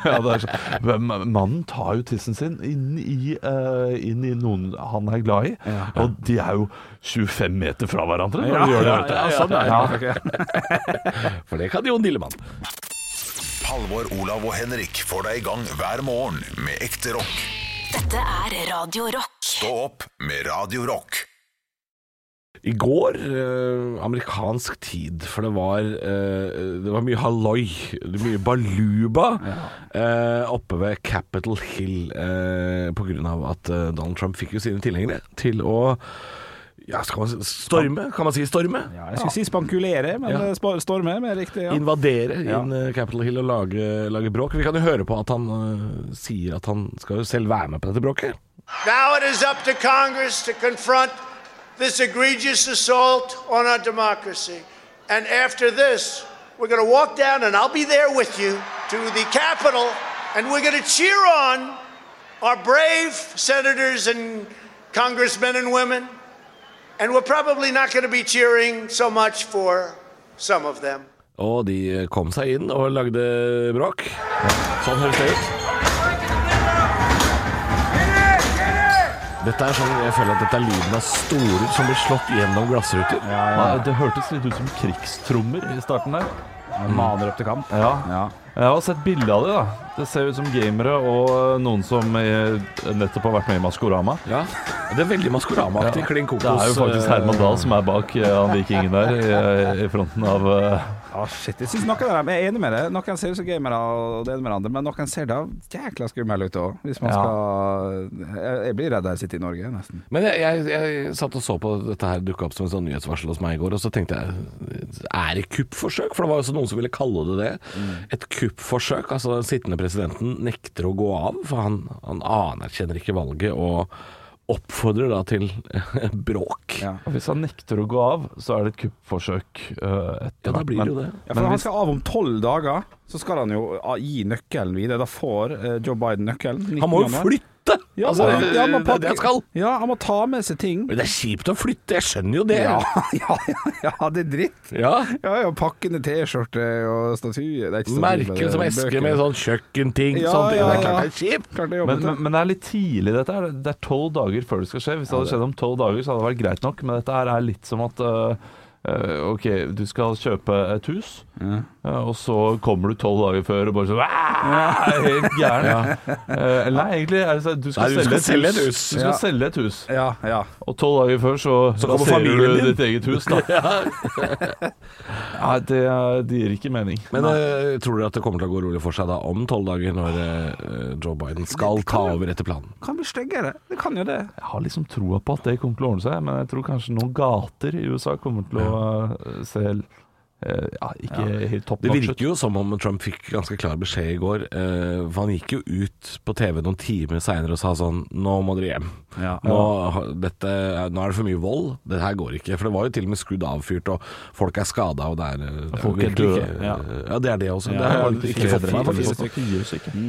S5: er så. Men Mannen tar jo tissen sin inn i, eh, inn i noen han er glad i, og de er jo 25 meter fra hverandre når de gjør det. vet du.
S3: sånn For det kan Jon Dillemann.
S1: Halvor, Olav og Henrik får deg i gang hver morgen med ekte rock.
S2: Dette er Radio Rock.
S1: Stå opp med Radio Rock.
S3: I går, eh, amerikansk tid, for det var, eh, det var mye halloi, mye baluba eh, oppe ved Capitol Hill eh, på grunn av at eh, Donald Trump fikk jo sine tilhengere til å Ja, skal man si storme? Kan man si storme?
S4: Ja, jeg skulle si spankulere, men
S3: Ja.
S4: eh, spa- storme er riktig. Ja.
S3: Invadere
S4: Ja.
S3: inn eh, Capitol Hill og lage, lage bråk. Vi kan jo høre på at han eh, sier at han skal jo selv være med på dette bråket.
S8: Now it is up to Congress to confront this egregious assault on our democracy. And after this, we're going to walk down, and I'll be there with you, to the Capitol, and we're going to cheer on our brave senators and congressmen and women. And we're probably not going to be cheering so much for some of them.
S3: Og de kom seg inn og lagde bråk. Sånn høres det ut. Dette er sånn, Jeg føler at dette er lyden av storer som blir slått gjennom glassruter.
S5: Nei, Det hørtes litt ut som krigstrommer i starten der.
S4: Man Maner opp til kamp.
S5: Ja.
S4: Ja.
S5: Jeg har sett bilde av de da. Det ser ut som gamere og eh, noen som eh, nettopp har vært med i Maskorama.
S3: Ja, Det er veldig Maskorama-aktig.
S5: Ja.
S3: Klin kokos.
S5: Det er jo faktisk
S3: eh,
S5: Herman Dahl som er bak eh, han vikingen der i, i fronten av eh,
S4: Ah, shit, jeg synes noen av dem jeg er enig med det. Noen ser ut som gamere, og det ene med det andre, men noen ser da jækla skumle ut òg. Hvis man
S5: Ja.
S4: skal jeg, jeg blir redd jeg sitter i Norge, nesten.
S3: Men jeg, jeg, jeg satt og så på dette her dukke opp som en sånn nyhetsvarsel hos meg i går, og så tenkte jeg Er det kuppforsøk? For det var jo også noen som ville kalle det det.
S4: Mm.
S3: Et kuppforsøk. Altså den sittende presidenten nekter å gå av, for han, han anerkjenner ikke valget og oppfordrer da til bråk. Ja.
S4: Ja.
S5: Hvis han nekter å gå av, så er det et kuppforsøk. eh,
S3: da
S5: etter hvert,
S3: blir det jo
S5: men-
S3: det.
S4: Ja, for Han skal av om tolv dager, så skal han jo ah, gi nøkkelen videre. Da får eh, Joe Biden nøkkelen. 19.
S3: Han må jo
S4: januar.
S3: flytte!
S4: Ja,
S3: altså,
S4: han- ja, han må
S3: det er det han
S4: pakke-
S3: skal.
S4: Ja, han må ta med seg ting.
S3: Men det er kjipt å flytte, jeg skjønner jo det.
S4: Ja, ja, ja, det er dritt.
S3: Ja.
S4: Ja, ja, pakkende T-skjorte og statue det er ikke statue,
S3: Merker
S4: men
S3: som
S4: bøker.
S3: esker med sånn kjøkkenting.
S4: Ja,
S3: sånn,
S4: ja,
S3: Det er klart
S4: ja.
S3: det er kjipt.
S4: Klart det er
S5: Men,
S4: jobbete.
S5: men, men det er litt tidlig, dette. her. Det er tolv dager før det skal skje. Hvis det hadde skjedd om tolv dager, så hadde det vært greit nok. Men dette her er litt som at øh, øh, OK, du skal kjøpe et hus, øh, og så kommer du tolv dager før og bare sånn «Æ, Helt gæren. Eh, Eller nei, egentlig er det sånn at du skal,
S3: Nei, du skal
S5: selge, et hus. Du
S4: Ja.
S5: skal selge et hus,
S4: Ja, ja.
S5: og tolv dager før så,
S3: kommer
S5: raserer
S3: familien
S5: du
S3: din.
S5: ditt eget hus, da. Nei, det, det gir ikke mening.
S3: Men eh, tror dere at det kommer til å gå rolig for seg da om tolv dager, når eh, Joe Biden skal ta over etter planen?
S4: Kan bli styggere. Det kan jo det.
S5: Jeg har liksom troa på at det kommer til å ordne seg, men jeg tror kanskje noen gater i USA kommer til å eh, se eh, ja, ikke helt topp
S3: Det
S5: notch ut.
S3: virker jo som om Trump fikk ganske klar beskjed i går. eh, for han gikk jo ut på TV noen timer seinere og sa sånn Nå må dere hjem.
S4: Ja.
S3: Nå, har- dette, nå er det for mye vold. Det her går ikke. For det var jo til og med skudd avfyrt, og folk er skada, og det er, eh, det
S5: folk er
S3: virkelig
S5: døde,
S3: ikke-
S5: ja.
S3: Ja, det er det også.
S5: Ja,
S3: det har
S5: var
S3: jeg ikke fått
S5: fire-
S3: med meg.
S5: fire
S3: faktisk.
S5: stykker. Fire stykker.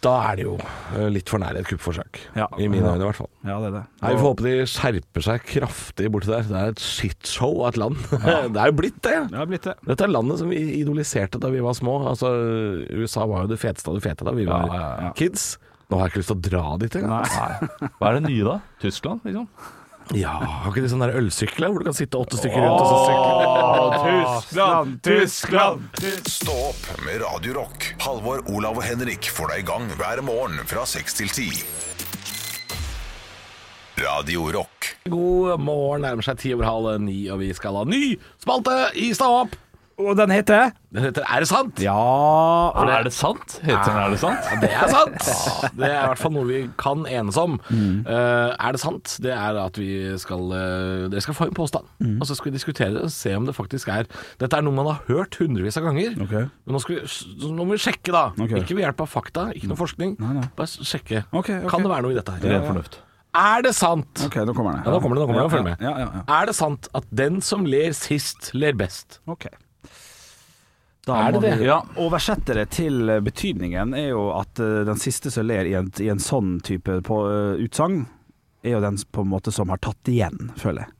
S3: Da er det jo eh, litt for nære et kuppforsøk.
S4: Ja.
S3: I mine øyne, i hvert fall.
S4: Ja, det er det.
S3: Nei, Vi får håpe de skjerper seg kraftig borti der. Det er et shitshow av et land. det er jo blitt det.
S4: Ja, det er blitt det.
S3: Dette er landet som vi idoliserte da vi var små. Altså, USA var jo det feteste av det fete da vi var
S5: ja, ja.
S3: kids. Nå har jeg ikke lyst til å dra dit engang.
S5: Nei. Hva er det nye, da? Tyskland, liksom?
S3: Ja, har ikke de sånne der ølsykler hvor du kan sitte åtte stykker rundt og så sykle?
S5: Tyskland, Tyskland!
S1: Stå opp med Radio Rock. Halvor, Olav og Henrik får deg i gang hver morgen fra 6 til 10. Radio Rock.
S3: God morgen, nærmer seg ti over halv ni, og vi skal ha ny spalte i Stå opp!
S4: Og den heter Ah,
S3: Den heter Er det sant?
S4: Ja
S5: Er det sant? Heter den Er det sant?
S3: Det er sant! Det er i hvert fall noe vi kan enes om. Eh, er det sant? Det er at vi skal eh, Dere skal få en påstand, og så skal vi diskutere det og se om det faktisk er Dette er noe man har hørt hundrevis av ganger.
S4: Ok.
S3: Men nå, skal vi, så nå må vi sjekke, da.
S4: Ok.
S3: Ikke ved hjelp av fakta, ikke noe forskning. Bare s- sjekke.
S4: Ok, ok.
S3: Kan det være noe i dette her?
S5: Ren fornuft.
S3: Er det sant?
S4: OK, nå kommer den.
S3: Ja, nå kommer det, nå kommer det. Følg med.
S4: Ja, ja, ja.
S3: Er det sant at den som ler sist, ler best?
S4: Ok.
S3: Er det
S4: må vi-
S3: det?
S4: Ja, Oversette det til eh, betydningen er jo at eh, den siste som ler i en, i en sånn type på, eh, utsagn, er jo den s- på en måte som har tatt igjen, føler jeg.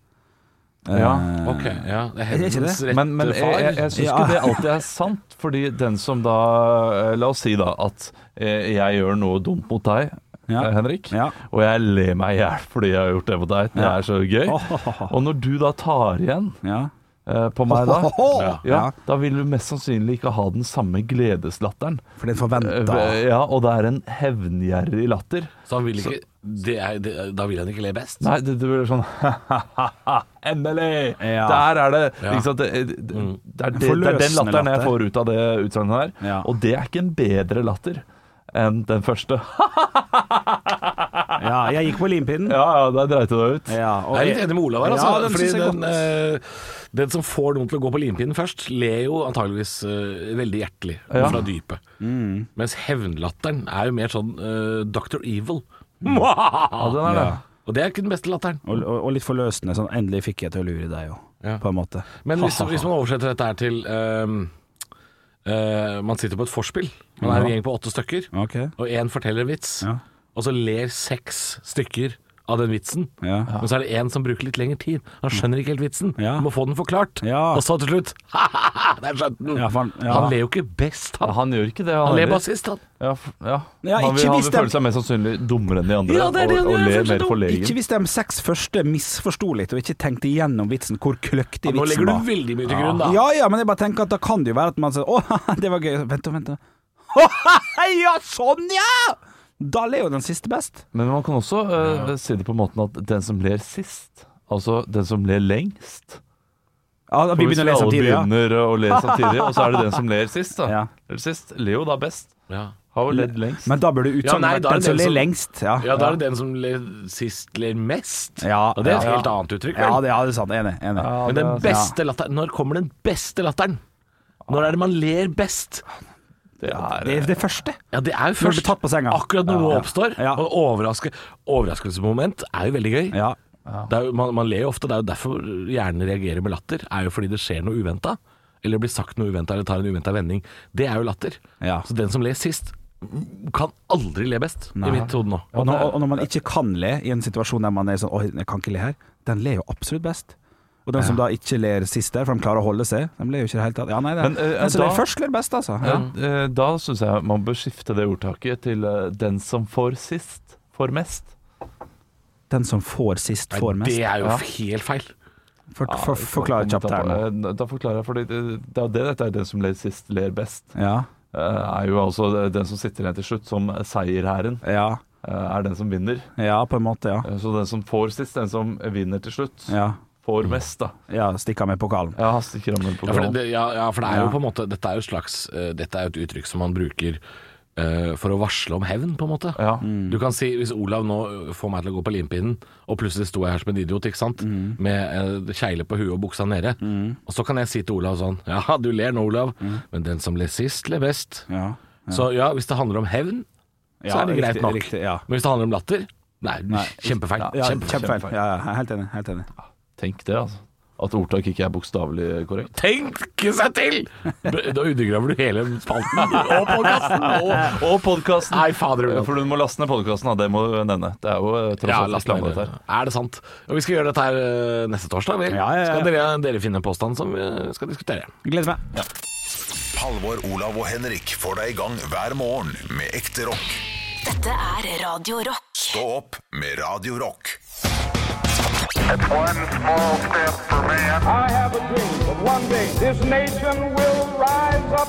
S5: Ja,
S4: Eh,
S3: Ok, ja. Det er
S4: Er det ikke
S3: hendens rette
S5: Men, men jeg,
S3: far.
S5: jeg, jeg syns
S4: Ja.
S5: ikke det alltid er sant, fordi den som da eh, La oss si da at eh, jeg gjør noe dumt mot deg,
S4: Ja.
S5: eh, Henrik,
S4: Ja.
S5: og jeg ler meg i hjel fordi jeg har gjort det mot deg. Det
S4: Ja.
S5: er så gøy.
S4: Åhåhå.
S5: Og når du da tar igjen
S4: Ja.
S5: eh, på meg da,
S4: Åhåhå.
S5: ja,
S4: Ja.
S5: da vil du mest sannsynlig ikke ha den samme gledeslatteren.
S4: For den
S5: Eh,
S4: forventa
S5: Ja, og det er en hevngjerrig latter.
S3: Så han vil ikke det er, det, Da vil han ikke le best?
S5: Nei, det, det blir sånn Endelig!
S4: Ja.
S5: Der er det
S3: Ja. Mm.
S5: ikke sant? Det, det, det, er det, det er den
S4: forløsende
S5: latteren jeg
S4: latter.
S5: får ut av det utsagnet der.
S4: Ja.
S5: Og det er ikke en bedre latter enn den første.
S4: Ja, jeg gikk på limpinnen.
S5: Ja, ja, der dreit du deg ut.
S4: Ja, og
S3: Jeg er litt enig med Olav her, altså.
S4: Ja, den
S3: fordi
S4: synes jeg
S3: den, eh, den som får noen til å gå på limpinnen først, ler jo antageligvis eh, veldig hjertelig
S5: Ja.
S3: fra dypet. Mens hevnlatteren er jo mer sånn eh, Dr. Evil.
S5: Mm. Ja, den er det.
S3: Og det er ikke den beste latteren.
S4: Og, og, og litt forløsende. Sånn, endelig fikk jeg til å lure deg, jo.
S3: Ja.
S4: På en måte.
S3: Men hvis, hvis man oversetter dette her til eh, eh, Man sitter på et vorspiel. Man er en gjeng på åtte stykker,
S4: Ok.
S3: og én forteller en vits.
S4: Ja.
S3: Og så ler seks stykker av den vitsen.
S4: Ja.
S3: Men så er det en som bruker litt lengre tid. Han skjønner ikke helt vitsen.
S4: Ja.
S3: Må få den forklart.
S4: Ja.
S3: Og så til slutt Ha-ha-ha! Der skjønte den!
S4: Ja, for han- ja.
S3: Han ler jo ikke best,
S5: Ja,
S3: han.
S5: han gjør ikke det.
S3: Han ler
S5: heller.
S3: bare sist, han.
S5: Ja, f-
S4: Ja,
S5: ja. han
S4: ikke
S5: vil, han
S4: hvis
S5: vil
S4: dem-
S5: føle seg mest sannsynlig dummere enn de andre
S3: Ja, det er det han
S5: og, og
S3: gjør,
S5: ler
S3: føler seg
S5: mer
S3: dum.
S5: forlegen.
S4: Ikke hvis de seks første misforsto litt og ikke tenkte igjennom vitsen, hvor kløktig
S3: Nå
S4: vitsen
S3: legger
S4: var.
S3: du veldig mye til grunn, da.
S4: Ja ja, men jeg bare tenker at da kan det jo være at man sier 'Å, det var gøy'. Vent, da, vent, da. Ja, sånn, ja! Da ler jo den siste best.
S5: Men man kan også eh, si det på måten at den som ler sist, altså den som ler lengst
S4: Ja, da, vi
S5: hvis
S4: begynner å le
S5: alle
S4: samtidig, ja.
S5: begynner å le samtidig, og så er det den som ler sist, da.
S4: Ja.
S5: Eller sist. Ler jo da best.
S3: Ja.
S5: Har jo ledd lengst.
S4: Men da burde
S3: Ja,
S4: utsagnet
S3: nei,
S4: vært
S3: da er
S4: den
S3: det
S4: som
S3: den
S4: ler
S3: som-
S4: lengst. Ja,
S3: ja, da er det den som ler sist, ler mest.
S4: Ja,
S3: og det er et
S4: ja.
S3: helt annet uttrykk. vel?
S4: ja, det, ja, det er sant. Enig. enig.
S5: Ja,
S3: Men
S5: det
S3: den
S5: er-
S3: beste latteren Når kommer den beste latteren? Når er det man ler best?
S5: det er,
S4: Det er det første.
S3: Ja, det er jo
S4: Når du
S3: først
S4: blir tatt på senga.
S3: akkurat når noe
S4: Ja.
S3: oppstår.
S4: Ja.
S3: Og overraske, overraskelsesmoment er jo veldig gøy.
S4: Ja.
S3: Det er jo, man, man ler jo ofte, det er jo derfor hjernen reagerer med latter. Er jo fordi det skjer noe uventa. Eller det blir sagt noe uventa, eller tar en uventa vending. Det er jo latter.
S4: Ja.
S3: Så den som ler sist, kan aldri le best, i mitt hode nå.
S4: Og når, og når man ikke kan le i en situasjon der man er sånn Oi, jeg kan ikke le her. Den ler jo absolutt best. Og den som da ikke ler sist der, for de klarer å holde seg, de ler jo ikke i det hele tatt. Ja, nei, det,
S5: Men, eh,
S4: den som
S5: da-
S4: ler først, ler best, altså. Ja.
S5: Men, eh, Da syns jeg man bør skifte det ordtaket til eh, 'den som får sist, får mest'.
S4: Den som får sist, får
S3: Nei,
S4: mest.
S3: det er jo helt feil.
S4: For, for, forklar
S5: Kan vi
S4: kjapt
S5: ta
S4: her nå.
S5: på- eh, Da forklarer jeg, for det det er jo det dette er 'den som ler sist, ler best'.
S4: Ja.
S5: Eh, Er jo altså den som sitter igjen til slutt som seierherren,
S4: ja.
S5: eh, er den som vinner.
S4: Ja, på en måte, ja.
S5: Eh, Så den som får sist, den som vinner til slutt,
S4: Ja,
S5: får mest, da.
S4: ja stikker med pokalen.
S5: Jeg Mm. haster ikke rammen på
S3: Ja, for det,
S5: planen.
S3: det, ja, ja, for det er jo
S4: Ja.
S3: på en måte Dette er jo et slags eh, Dette er jo et uttrykk som man bruker eh, for å varsle om hevn, på en måte.
S5: Ja.
S3: Du kan si Hvis Olav nå får meg til å gå på limpinnen, og plutselig sto jeg her som en idiot, ikke sant? med eh, kjegle på huet og buksa nede, og så kan jeg si til Olav sånn Ja, du ler nå, Olav, men den som ler sist, ler best.
S4: Ja.
S3: Så ja, hvis det handler om hevn, så
S4: Ja,
S3: er det greit
S4: riktig,
S3: nok.
S4: riktig, ja.
S3: Men hvis det handler om latter Nei, kjempefeil.
S4: Ja,
S3: kjempefeil.
S4: kjempefeil. Ja, ja, jeg er helt enig. Helt enig.
S5: Tenk det, altså. At ordtak ikke er bokstavelig korrekt.
S3: Tenke seg til! B- Da undergraver du hele spalten og podkasten.
S5: Og, og podkasten!
S3: Nei, fader
S5: Ja,
S3: Olav.
S5: For du må laste ned podkasten, da. Det må du nevne. Det er jo eh, tross
S3: Ja,
S5: alt
S3: last
S5: reklame,
S3: minute.
S5: dette her.
S3: Er det sant? Og vi skal gjøre dette her eh, neste torsdag, vel?
S4: Ja, ja, ja.
S3: Skal dere, dere finne en påstand som vi eh, skal diskutere?
S4: Gleder meg.
S1: Halvor, Olav og Henrik får deg i gang hver morgen med ekte rock.
S2: Dette er Radio Rock.
S1: Stå opp med Radio Rock.
S9: I have a dream that one day this nation will rise up.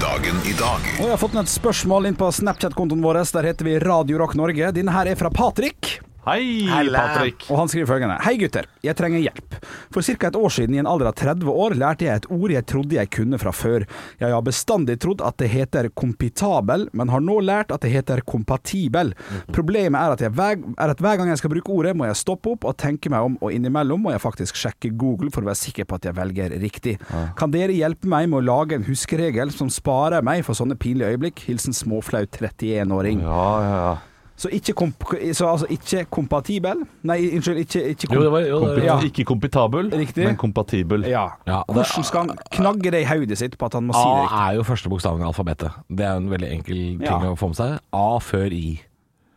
S1: Dagen i dag
S4: Og jeg har fått et spørsmål inn på Snapchat-kontoen vår. Der heter vi Radio Rock Norge. Denne her er fra Patrik.
S5: Hei, Patrick.
S4: Og han skriver følgende Hei gutter, jeg trenger hjelp. For ca. et år siden, i en alder av 30 år, lærte jeg et ord jeg trodde jeg kunne fra før. Jeg har bestandig trodd at det heter kompitabel, men har nå lært at det heter kompatibel. Problemet er at, jeg hver, er at hver gang jeg skal bruke ordet, må jeg stoppe opp og tenke meg om, og innimellom må jeg faktisk sjekke Google for å være sikker på at jeg velger riktig. Kan dere hjelpe meg med å lage en huskeregel som sparer meg for sånne pinlige øyeblikk? Hilsen småflau 31-åring.
S5: Ja, ja, ja.
S4: Så ikke, komp så altså ikke kompatibel Nei, unnskyld, ikke, ikke
S3: Jo, det var- jo, det var-
S5: Kompet
S4: Ja.
S5: Ikke kompetabel,
S4: Riktig.
S5: men kompatibel.
S4: Ja.
S3: Ja, og det- Ah.
S4: Hvordan skal han knagge det i hodet sitt på at han må
S3: A
S4: si det riktig?
S3: er jo første bokstaven i alfabetet. Det er jo en veldig enkel ting
S4: Ja.
S3: å få med seg. A før I.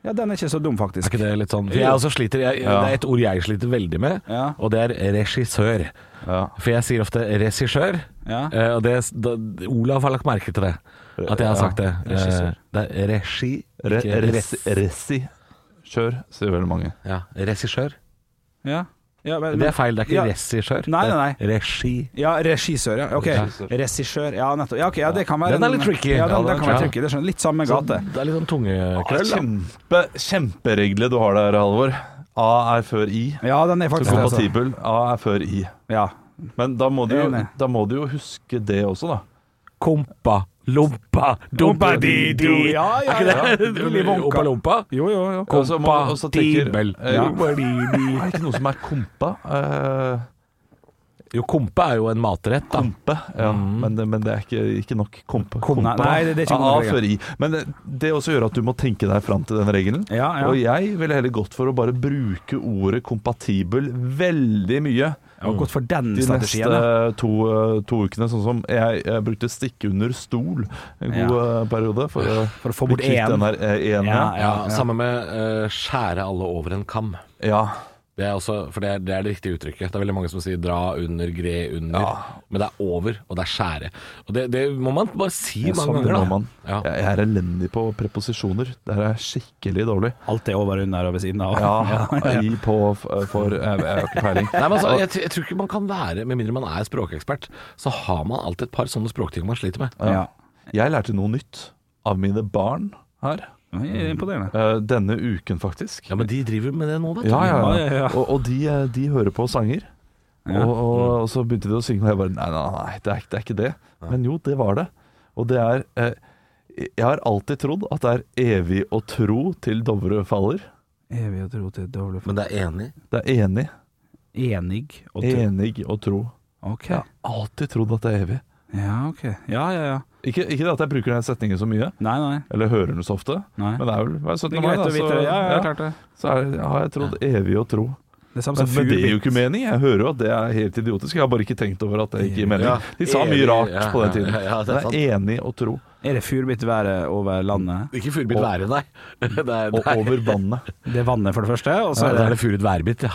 S4: Ja, den er ikke så dum, faktisk.
S3: Er ikke det litt sånn For jeg også sliter jeg, Det er et ord jeg sliter veldig med,
S4: Ja.
S3: og det er regissør.
S5: Ja.
S3: For jeg sier ofte regissør,
S4: Ja.
S3: eh, og det, da, Olav har lagt merke til det. At jeg har sagt det. Eh, Det er regi...
S5: Re,
S3: ikke
S5: res, resi. Kjør, sier veldig mange.
S3: Ja, regissør.
S4: Ja. Ja, men-
S3: Det er feil, det er ikke
S4: Ja.
S3: regissør.
S4: Nei, nei, nei.
S3: Det er Regi...
S4: Ja, regissør, ja. Ok. Regissør. Ja, nettopp. Ja, ok, ja, det kan være
S3: Den er
S4: en-
S3: litt tricky.
S4: Ja, den,
S3: Ja,
S4: den
S3: den er
S4: kan være
S3: tricky.
S4: tricky. Det er sånn litt samme gate.
S3: Det er litt sånn tungekrøll. da.
S5: Kjempe, kjemperegle du har der, Halvor. A er før I.
S4: Ja, den er faktisk det, altså.
S5: Kompatibel. A er før I.
S4: Ja.
S5: Men da må, du jo,
S4: Enig.
S5: da må du jo huske det også, da.
S3: Kompa Lompa, dumpa di di
S4: Ja, ja,
S3: Er ikke
S4: ja.
S3: det?
S4: Willy Wonka.
S3: Oppa lompa?
S4: Jo, jo, jo.
S5: Og så Altså, må- og så tenker-
S3: Kompatibel.
S5: Eh,
S3: Ja.
S5: Er det ikke noe som er kompa? Eh,
S3: Jo, kompa er jo en matrett, da.
S5: kompe, ja. Men, det, men det er ikke, ikke nok kompe.
S4: Kom-
S5: Kompa.
S4: Mm. Nei, det- det er ikke
S5: A
S4: nok regel.
S5: før I. Men det, det også gjør at du må tenke deg fram til den regelen.
S4: Ja, ja.
S5: Og jeg ville heller gått for å bare bruke ordet kompatibel veldig mye.
S4: Jeg har gått for den
S5: De
S4: strategien.
S5: neste
S4: ja.
S5: eh, to, eh, to ukene, sånn som jeg, jeg brukte stikke under stol en god eh, periode for, å-
S4: For å få bort
S5: bli kvitt
S4: én.
S5: den her eh, én.
S4: Ja,
S5: Ja,
S3: Ja, Samme med eh, skjære alle over en kam.
S5: ja.
S3: Det er også, for det er, det er det riktige uttrykket. Det er veldig mange som sier 'dra under, gre under'. Men det er over, og det er skjære. Og det, det må man bare si
S5: Ja,
S3: mange
S5: sånn det
S3: ganger, da.
S5: må man.
S3: Ja.
S5: Jeg, jeg er elendig på preposisjoner. Der er jeg skikkelig dårlig.
S4: Alt er over, under og ved siden av.
S5: Ja, i, på, f- for Jeg, jeg har ikke peiling.
S3: Nei, men altså, jeg, tr- jeg tror ikke man kan være, Med mindre man er språkekspert, så har man alltid et par sånne språkting man sliter med.
S4: Ja.
S5: Jeg lærte noe nytt av mine barn her.
S4: Det er Imponerende.
S5: eh, Denne uken, faktisk.
S3: Ja, Men de driver med det nå, vet du.
S5: Ja, ja,
S4: Ja,
S5: ja.
S4: ja, ja.
S5: Og, og de, eh, de hører på sanger. Og, og, og så begynte de å synge, og jeg bare Nei, nei, nei, det er, ikke- det er ikke det. Men jo, det var det. Og det er eh, Jeg har alltid trodd at det er evig å tro til Dovre faller.
S4: Evig og tro til dårlig
S3: Men det er enig.
S5: Det er enig.
S4: Enig og tro.
S5: Enig å tro.
S4: Ok.
S5: Jeg har alltid trodd at det er evig.
S4: Ja, ok. Ja, ja, ja.
S5: Ikke, ikke det at jeg bruker den setningen så mye,
S4: Nei, nei.
S5: eller hører den så ofte,
S4: Nei.
S5: men det er vel hver 17.
S4: Det er
S5: mai,
S4: greit
S5: da,
S4: å vite det. Ja, ja,
S5: ja,
S4: klart det.
S5: så er, det- har jeg trodd evig å tro.
S4: Det er samme
S5: Men,
S4: som
S5: men det gir jo
S4: fuglebitt.
S5: ikke mening. Jeg hører jo at det er helt idiotisk. Jeg har bare ikke tenkt over at det ikke gir mening.
S3: Ja,
S5: De sa mye
S3: evig,
S5: rart
S3: ja,
S5: på den tiden.
S3: ja, ja, det er
S5: Men jeg er enig å tro,
S4: Er det furbitt været over landet?
S3: Ikke furubitt være, nei. Det er,
S5: og
S3: nei.
S5: over vannet.
S4: Det er vannet, for det første. Og så
S3: Ja,
S4: er
S3: det
S4: det
S3: er det furet værbit, ja.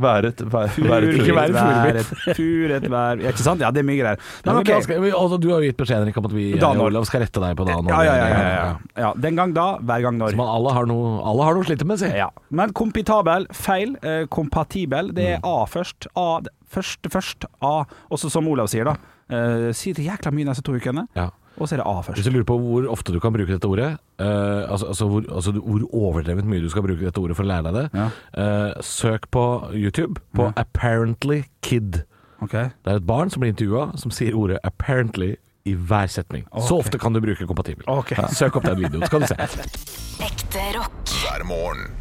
S5: Været vær, vær,
S4: Fur-
S3: ikke være
S4: været, Furet vær Ja, ikke sant? Ja, det er mye greier. Nei,
S3: Men
S4: men
S3: da
S4: ok.
S3: skal vi- altså, du har jo gitt beskjed Henrik, om at vi
S4: Da
S3: jeg og
S4: nå.
S3: Olav skal rette deg på det. nå.
S4: Ja, ja, ja, ja, ja. ja. Den gang da, hver gang når.
S3: Så man, alle, har noe, alle har noe å slite med, si.
S4: Ja. Men kompitabel, feil. Eh, kompatibel, det er A først. A, det- først, først A. Også som Olav sier, da. Eh, si det jækla mye de neste to ukene,
S3: Ja.
S4: og så er det A først.
S3: Hvis du lurer på hvor ofte du kan bruke dette ordet, eh, altså, altså, hvor, altså du- hvor overdrevet mye du skal bruke dette ordet for å lære deg det,
S4: Ja.
S3: eh, søk på YouTube på 'Apparently Kid'.
S4: Ok.
S3: Det er et barn som blir intervjua som sier ordet 'apparently' i hver setning. Så ofte kan du bruke kompatibel.
S4: Ok.
S3: Ja, Søk opp den videoen, så kan du se.
S2: Ekte rock.
S1: hver morgen.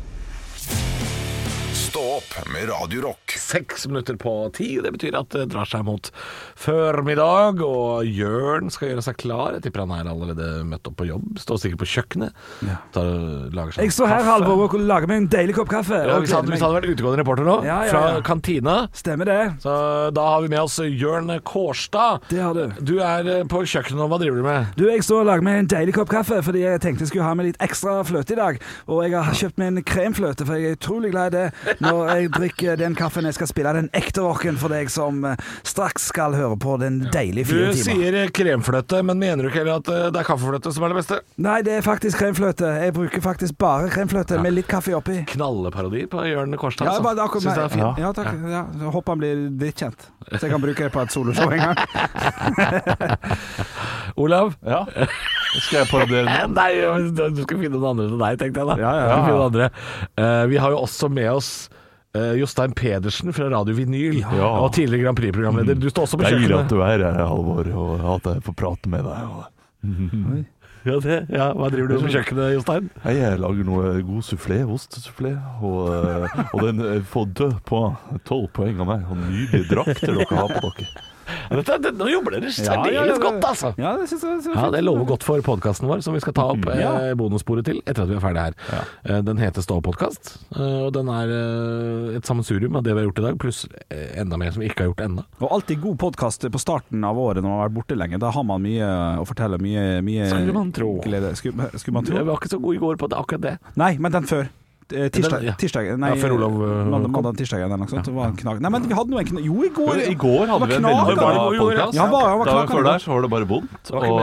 S1: Stå opp med Radio Rock.
S3: Seks minutter på ti, det betyr at det drar seg mot formiddag, og Jørn skal gjøre seg klar. Jeg tipper han er allerede møtt opp på jobb, står sikkert på kjøkkenet. Tar, og lager seg en kaffe.
S4: og lager meg en deilig kopp kaffe.
S3: Ja, hvis, han, hvis han hadde vært utegående reporter nå,
S4: Ja, ja, ja.
S3: fra kantina
S4: Stemmer det.
S3: så da har vi med oss Jørn Kårstad.
S4: Det har du.
S3: Du er eh, på kjøkkenet nå, hva driver du med?
S4: Du, Jeg står og lager meg en deilig kopp kaffe fordi jeg tenkte jeg skulle ha med litt ekstra fløte i dag. Og jeg har kjøpt meg en kremfløte, for jeg er utrolig glad i det når jeg drikker den kaffen jeg skal spille den ekte rocken for deg som eh, straks skal høre på den deilige
S3: Du
S4: fire timer.
S3: sier eh, kremfløte, men mener du ikke heller at eh, det er kaffefløte som er det beste?
S4: Nei, det er faktisk kremfløte. Jeg bruker faktisk bare kremfløte med litt kaffe oppi.
S3: Knalleparodi på Jørn Kårstad.
S4: Ja,
S3: altså.
S4: bare akkurat
S3: Synes det er
S4: meg.
S3: fint.
S4: Ja, takk. Ja. så Håper han blir drittkjent, så jeg kan bruke det på et soloshow en gang.
S3: Olav?
S5: Ja. Skal jeg parodiere den?
S3: Eh, Nei, du skal finne noen andre til deg, tenkte jeg da.
S4: Ja, ja,
S3: Du skal
S4: ja.
S3: finne noen andre. Eh, vi har jo også med oss eh, Jostein Pedersen fra Radio Vinyl,
S5: Ja.
S3: og tidligere Grand Prix-programleder. Du står også på
S5: Det er hyggelig at
S3: kjøkkenet.
S5: du er her, Halvor, og at jeg får prate med deg. og-
S3: Ja, det- ja, hva driver du med på kjøkkenet, Jostein?
S5: Hei, jeg lager noe god soufflé, ostesufflé, og, eh, og den eh, får dø på tolv poeng av meg. Og nydelige drakter dere har på dere.
S3: Ja, Dette, det, nå jobber dere særdeles godt, altså.
S4: Ja, det synes jeg-
S3: Ja, Det lover godt for podkasten vår, som vi skal ta opp eh, bonussporet til etter at vi er ferdig her. Eh, den heter Stå opp-podkast, eh, og den er eh, et sammensurium av det vi har gjort i dag, pluss eh, enda mer som vi ikke har gjort ennå.
S4: Og alltid god podkast på starten av året når man har vært borte lenge. Da har man mye å fortelle. Mye, mye
S3: Skulle man tro.
S4: glede. Skulle, skulle man
S3: Jeg
S4: tro?
S3: var ikke så god i går på det, akkurat det.
S4: Nei, men den før. Eh, Tirsdag,
S3: Den, ja.
S4: tirsdag Nei,
S3: Ja, før Olav, eh,
S4: mandag,
S3: kom.
S4: mandag tirsdag eller noe sånt. Det var en knag. Nei, men vi hadde nå en knag... Jo, i går!
S5: I går hadde vi en
S4: knakende
S5: veldig bra
S4: god jord, ja.
S5: podkast.
S4: Ja, han var, han var
S5: Dagen før
S4: knakende
S5: der så var det bare vondt.
S4: god.
S5: Og,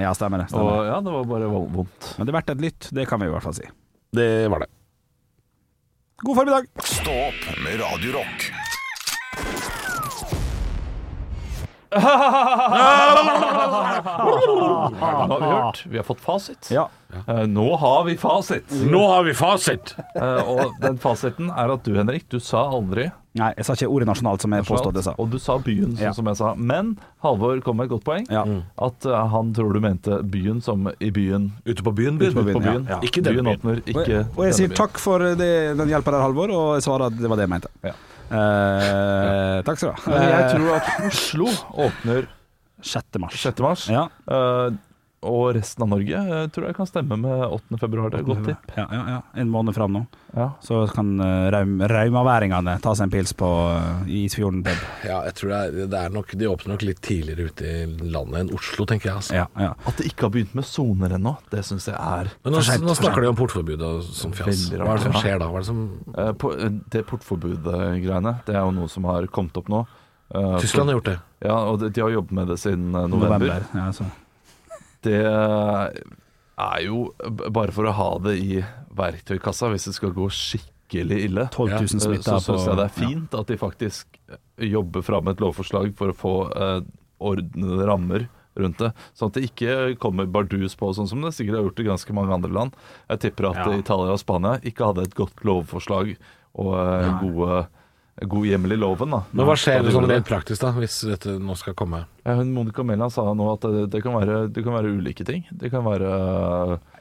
S4: Ja, stemmer det.
S5: og
S4: Stemmer. det.
S5: ja, det var bare vondt.
S4: Men det er verdt et lytt, det kan vi i hvert fall si.
S3: Det var det.
S4: God formiddag!
S1: Stå opp med Radio Rock.
S5: Nå har vi hørt. Vi har fått fasit.
S4: Ja. Mm.
S5: Eh, Nå har vi fasit.
S3: Nå har vi fasit!
S5: Eh, Og den fasiten er at du, Henrik, du sa aldri
S4: Nei, jeg sa ikke ordet nasjonalt, som jeg påstod jeg sa.
S5: Og du sa byen, sånn
S4: Ja.
S5: som jeg sa. Men Halvor kom med et godt poeng.
S4: Ja.
S5: At eh, han tror du mente byen som i byen.
S3: Ute på byen, byen.
S5: Ute på byen.
S4: ja.
S5: Ja.
S4: Ja.
S3: Ikke denne
S5: byen
S3: byen.
S5: åpner,
S4: Og
S5: ikke
S4: jeg, og jeg
S5: denne
S4: sier
S5: byen.
S4: takk for det, den hjelpa der, Halvor, og jeg svarer at det var det jeg mente.
S5: Ja.
S4: Eh, takk skal du ha.
S5: Men jeg
S4: Eh,
S5: tror at Oslo åpner
S4: 6. mars.
S5: 6. mars.
S4: Ja.
S5: Eh, og resten av Norge eh, tror jeg kan stemme med 8. februar. Det er et godt tipp.
S4: Ja, ja, ja. En måned fram nå.
S5: Ja.
S4: Så kan eh, raum, raumaværingene ta seg en pils på eh, Isfjorden pub.
S3: Ja, jeg tror det er, det er nok, De åpner nok litt tidligere ute i landet enn Oslo, tenker jeg. Altså.
S4: Ja, ja.
S5: At de ikke har begynt med soner ennå, det syns jeg er
S3: Men nå,
S4: For sent,
S3: nå
S4: for
S3: snakker de om portforbud og sånn fjas.
S5: Veldig rart,
S3: Hva er det som
S5: ja.
S3: skjer da? Hva er det som
S5: Eh, på, eh, Det portforbud-greiene, det er jo noe som har kommet opp nå. Eh,
S3: Tyskland
S5: for-
S3: har gjort det.
S5: Ja, og de, de har jobbet med det siden eh, november.
S4: November. Ja, så.
S5: Det er jo b- bare for å ha det i verktøykassa hvis det skal gå skikkelig ille. eh,
S4: 12 000
S5: Så
S4: smitta
S5: syns
S4: på
S5: jeg det er fint at de faktisk eh, jobber fram et lovforslag for å få eh, ordnede rammer rundt det. Sånn at det ikke kommer bardus på, sånn som det sikkert har gjort i ganske mange andre land. Jeg tipper at
S4: Ja.
S5: Italia og Spania ikke hadde et godt lovforslag og eh, gode, god hjemmel i loven. da.
S3: Men hva skjer
S5: Da de
S3: sånn
S5: gjorde
S3: rent praktisk da, hvis dette nå skal komme?
S5: Eh, hun Monica Mæland sa nå at det, det, kan være, det kan være ulike ting. Det kan være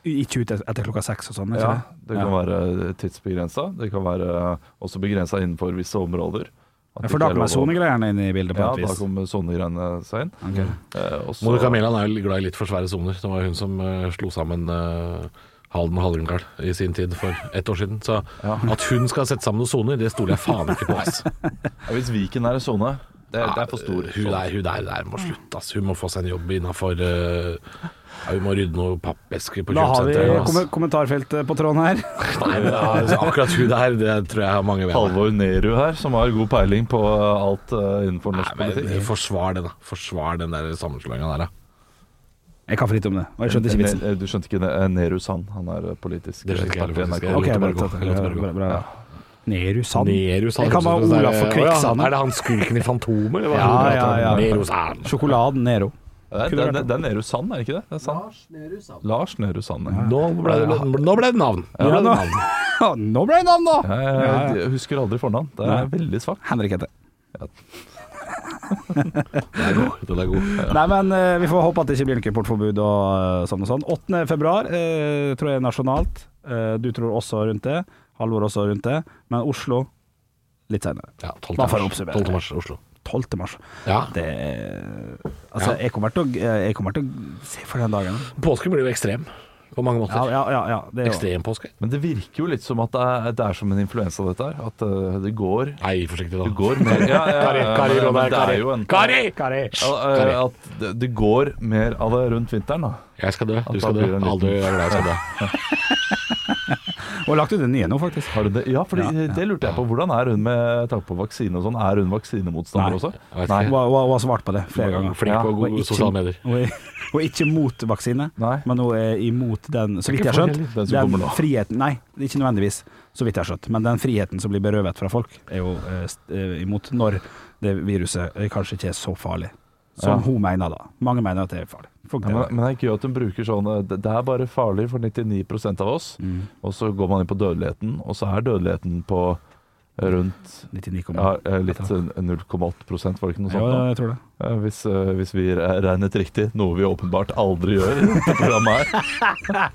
S4: Ikke ut etter klokka seks og sånn.
S5: ja,
S4: Ja.
S5: det kan være tidsbegrensa. Det kan være også begrensa innenfor visse områder. At det
S4: For da
S5: ikke er
S4: kommer
S5: lov å-
S4: sonegreiene inn i bildet, på
S5: Ja,
S4: et
S5: da
S4: vis.
S5: kommer sonegreiene seg inn.
S4: Ok.
S5: Eh, også-
S3: Monica Mæland er jo glad i litt for svære soner. Det var jo hun som eh, slo sammen eh, Halden og Hallingdal i sin tid for ett år siden. Så at hun skal sette sammen noen soner, det stoler jeg faen ikke på. Ass.
S5: Ja, hvis Viken er en sone, det, er- det er for stor.
S4: Eh,
S3: Hun der, hun der, der må slutte, ass. Hun må få seg en jobb innafor ja, Hun må rydde noen pappesker på
S4: Da har vi
S3: kjøpesenteret. ass.
S4: kom kommentarfeltet på tråden her.
S3: Nei, men, altså, akkurat hun der, det tror jeg har mange venner.
S5: Halvor Nerud her, som har god peiling på eh, alt eh, innenfor norsk
S3: Nei, men,
S5: politikk.
S3: forsvar det, da. Forsvar den der sammenslåinga der, da.
S4: Jeg kan for lite om det, og jeg skjønte ikke vitsen.
S5: Ne- eh, Du skjønte ikke ne- Nerus han? Han er eh, politisk
S3: Det skjønte ikke jeg
S5: ekspert
S3: faktisk.
S5: i NRK.
S3: Jeg lot
S4: Ok,
S3: det
S4: bra,
S3: bare gå. Jeg lot det bare gå.
S4: bra, bra. Neru Sand.
S3: Nerus han
S4: Jeg kan bare
S3: høres ut som en
S4: Olaf
S3: sånn
S4: for
S3: der-
S4: Kvikksand.
S3: Å ja, Er det han skurken i Fantomet, eller hva?
S4: Ja, ja, ja.
S3: Nerus han.
S4: Sjokoladen Nero.
S5: Det er, det, er- det er Nerus Sand, er det ikke det? det er sant. Lars Nerud Sand. ja.
S3: Nå ble det, nå ble det navn. Nå ble
S4: Ja,
S3: det
S4: nå.
S3: navn.
S4: nå ble det navn, da!
S5: Jeg, jeg husker aldri fornavn. Det er
S4: Nei.
S5: veldig svakt.
S4: Henrik heter det.
S3: Den er god. Den er god.
S4: Nei, men eh, vi får håpe at det ikke blir noe portforbud og eh, sånn og sånn. 8. februar eh, tror jeg er nasjonalt. Eh, du tror også rundt det. Halvor også rundt det. Men Oslo litt senere.
S3: Ja, 12.
S4: Bare for å
S3: mars.
S4: oppsummere.
S3: 12. mars, Oslo.
S4: 12. mars.
S3: Ja.
S4: Det er- Altså, jeg kommer til å Jeg kommer til å se for den dagen.
S3: Påske blir jo ekstrem på mange
S4: Ja,
S3: måter.
S4: ja, ja. ja det er jo.
S3: Ekstrem påske.
S5: Men det virker jo litt som at det er, det er som en influensa, dette her. At eh, det går
S3: Nei, forsiktig, da.
S5: Det går mer ja, ja,
S3: Kari,
S5: ja,
S3: Kari,
S5: men-
S3: lå
S5: men
S3: der,
S5: det er
S3: Kari.
S5: jo en-
S3: Kari!
S5: Ja, eh, At det- det går mer av det rundt vinteren, da.
S3: Jeg skal dø, du
S5: da
S3: skal dø.
S5: blir det en liten-
S3: Aldri er glad jeg skal dø.
S4: Og lagt ut den nye nå, faktisk.
S5: Har du det? Ja, for det lurte jeg på. Hvordan er hun med tanke på vaksine og sånn? Er hun vaksinemotstander
S4: Nei.
S5: også?
S3: Jeg vet
S4: Hun
S5: Nei.
S4: har- hun har hun har svart på det flere ganger.
S3: Flink på
S4: Og
S3: gode
S4: ikke-
S3: sosiale medier.
S4: Og, og ikke mot vaksine,
S5: Nei.
S4: men hun er imot den, så vidt jeg har
S5: forskjell,
S4: skjønt.
S5: den som kommer nå.
S4: friheten Nei, ikke nødvendigvis, så vidt jeg har skjønt. Men den friheten som blir berøvet fra folk, er jo eh, st- eh, imot når det viruset eh, kanskje ikke er så farlig. Som
S5: Ja.
S4: hun mener, da. Mange mener at det er farlig. Folk,
S5: Ja,
S4: det,
S5: men, men det er gøy at hun bruker sånn eh, Det det er bare farlig for 99 av oss.
S4: Mm.
S5: Og så går man inn på dødeligheten, og så er dødeligheten på eh, rundt
S4: 99,8
S5: ja, eh, litt eh, 0,8 var det ikke noe
S4: Ja,
S5: sånt? da?
S4: jeg tror det.
S5: Eh, Hvis, eh, hvis vi re- regnet riktig, noe vi åpenbart aldri gjør, i dette programmet her,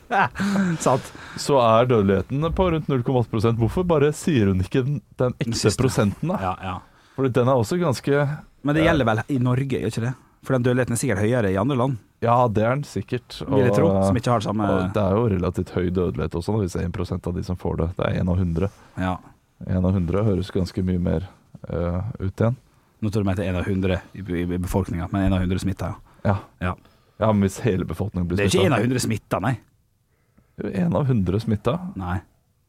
S4: Sant.
S5: så er dødeligheten på rundt 0,8 Hvorfor bare sier hun ikke den, den ekte
S4: siste.
S5: prosenten? da?
S4: Ja, ja.
S5: Fordi den er også ganske
S4: Men det gjelder vel i Norge, gjør ikke det? For den dødeligheten er sikkert høyere i andre land,
S5: Ja, det er den sikkert.
S4: vil jeg tro.
S5: eh,
S4: Som ikke har det samme
S5: og det er jo relativt høy dødelighet også, da, hvis det er 1 av de som får det. Det er 1 av 100.
S4: ja.
S5: 1 av 100 høres ganske mye mer eh, ut igjen.
S4: Nå tror jeg det er 1 av 100 i- i befolkninga, men 1 av 100 smitta, ja.
S5: Ja.
S4: Ja.
S5: ja, men hvis hele befolkningen
S4: Det
S5: blir
S4: er ikke én
S5: smitta
S4: av hundre smitta, nei.
S5: 1 av 100 smitta
S4: Nei,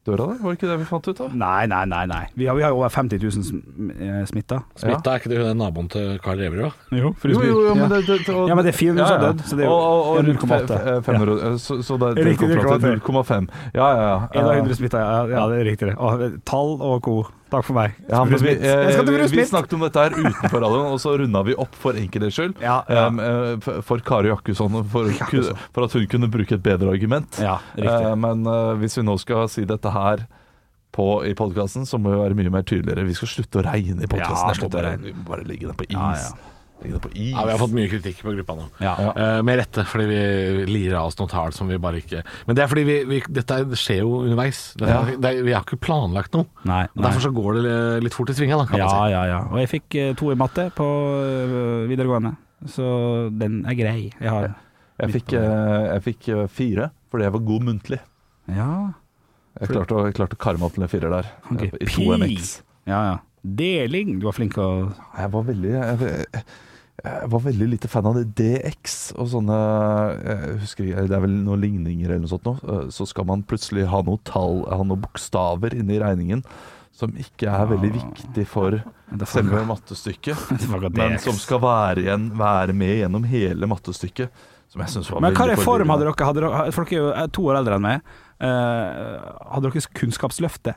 S5: dør av det, var det ikke det vi fant ut av?
S4: nei, nei. nei, nei. Vi, har, vi har jo over 50 000 sm- eh, smitta.
S3: Smitta er ikke det hun er naboen til Karl Reverud, da?
S4: Jo,
S5: Jo, jo, jo, men det, det, og-
S4: Ja, men det er 400 som har dødd, så det er jo
S5: Og- og- og rundt
S4: 0,8.
S5: fe- eh, 500, eh, Så, så det, det
S4: Riktig,
S5: kom fram til
S4: 0,8.
S5: 0,5. Ja, ja, ja.
S4: En av
S5: Eh,
S4: 100 smitta, ja, ja, det er riktig. det. Og, eh, tall og co. Takk for meg.
S5: Ja, men
S4: Bruce
S5: vi,
S4: Smith. jeg skal til
S5: eh,
S4: Bruce
S5: vi
S4: Smith.
S5: snakket om dette her utenfor radioen, og så runda vi opp for enkelhets skyld.
S4: Ja, ja.
S5: Em, eh, for- for Kari Jakkusson, for,
S4: Jakkusson.
S5: for at hun kunne bruke et bedre argument.
S4: Ja, riktig.
S5: Eh, men eh, hvis vi nå skal si dette her på, i podkasten, så må vi være mye mer tydeligere. Vi skal slutte å regne i
S4: Ja,
S5: podkasten.
S4: slutt å regne.
S5: vi må bare legge det på is.
S4: Ja, ja.
S5: Legge det på is.
S3: Ja, Vi har fått mye kritikk på gruppa nå.
S4: Ja.
S3: Eh, med rette, fordi vi lirer av oss noen tall som vi bare ikke Men det er fordi vi, vi, dette skjer jo underveis. Det, er- det, er- vi har ikke planlagt noe.
S4: Nei,
S3: Og
S4: nei.
S3: Derfor så går det litt fort i svinga, da, kan
S4: Ja,
S3: man si.
S4: ja, ja. Og jeg fikk eh, to i matte på eh, videregående, så den er grei. Jeg har
S5: Jeg fikk, eh, jeg fikk eh, fire fordi jeg var god muntlig.
S4: Ja,
S5: Jeg klarte å, jeg klarte å karre meg opp til en firer der.
S4: ok.
S5: I
S4: Pi.
S5: to MX.
S4: Ja, ja. Deling. Du var flink å
S5: Jeg var veldig jeg, jeg, jeg var veldig lite fan av det DX og sånne Jeg husker ikke, Det er vel noen ligninger eller noe sånt nå. eh, Så skal man plutselig ha noe tall, ha noen bokstaver inni regningen som ikke er veldig viktig for
S4: Ah. det får-
S5: selve mattestykket,
S4: Det var ikke
S5: men
S4: DX.
S5: som skal være, igjen, være med gjennom hele mattestykket. Som jeg synes var
S4: Men hva
S5: veldig
S4: er form hadde
S5: forvirrende.
S4: dere? Hadde dere for dere er jo eh, to år eldre enn meg. Eh, hadde dere Kunnskapsløftet?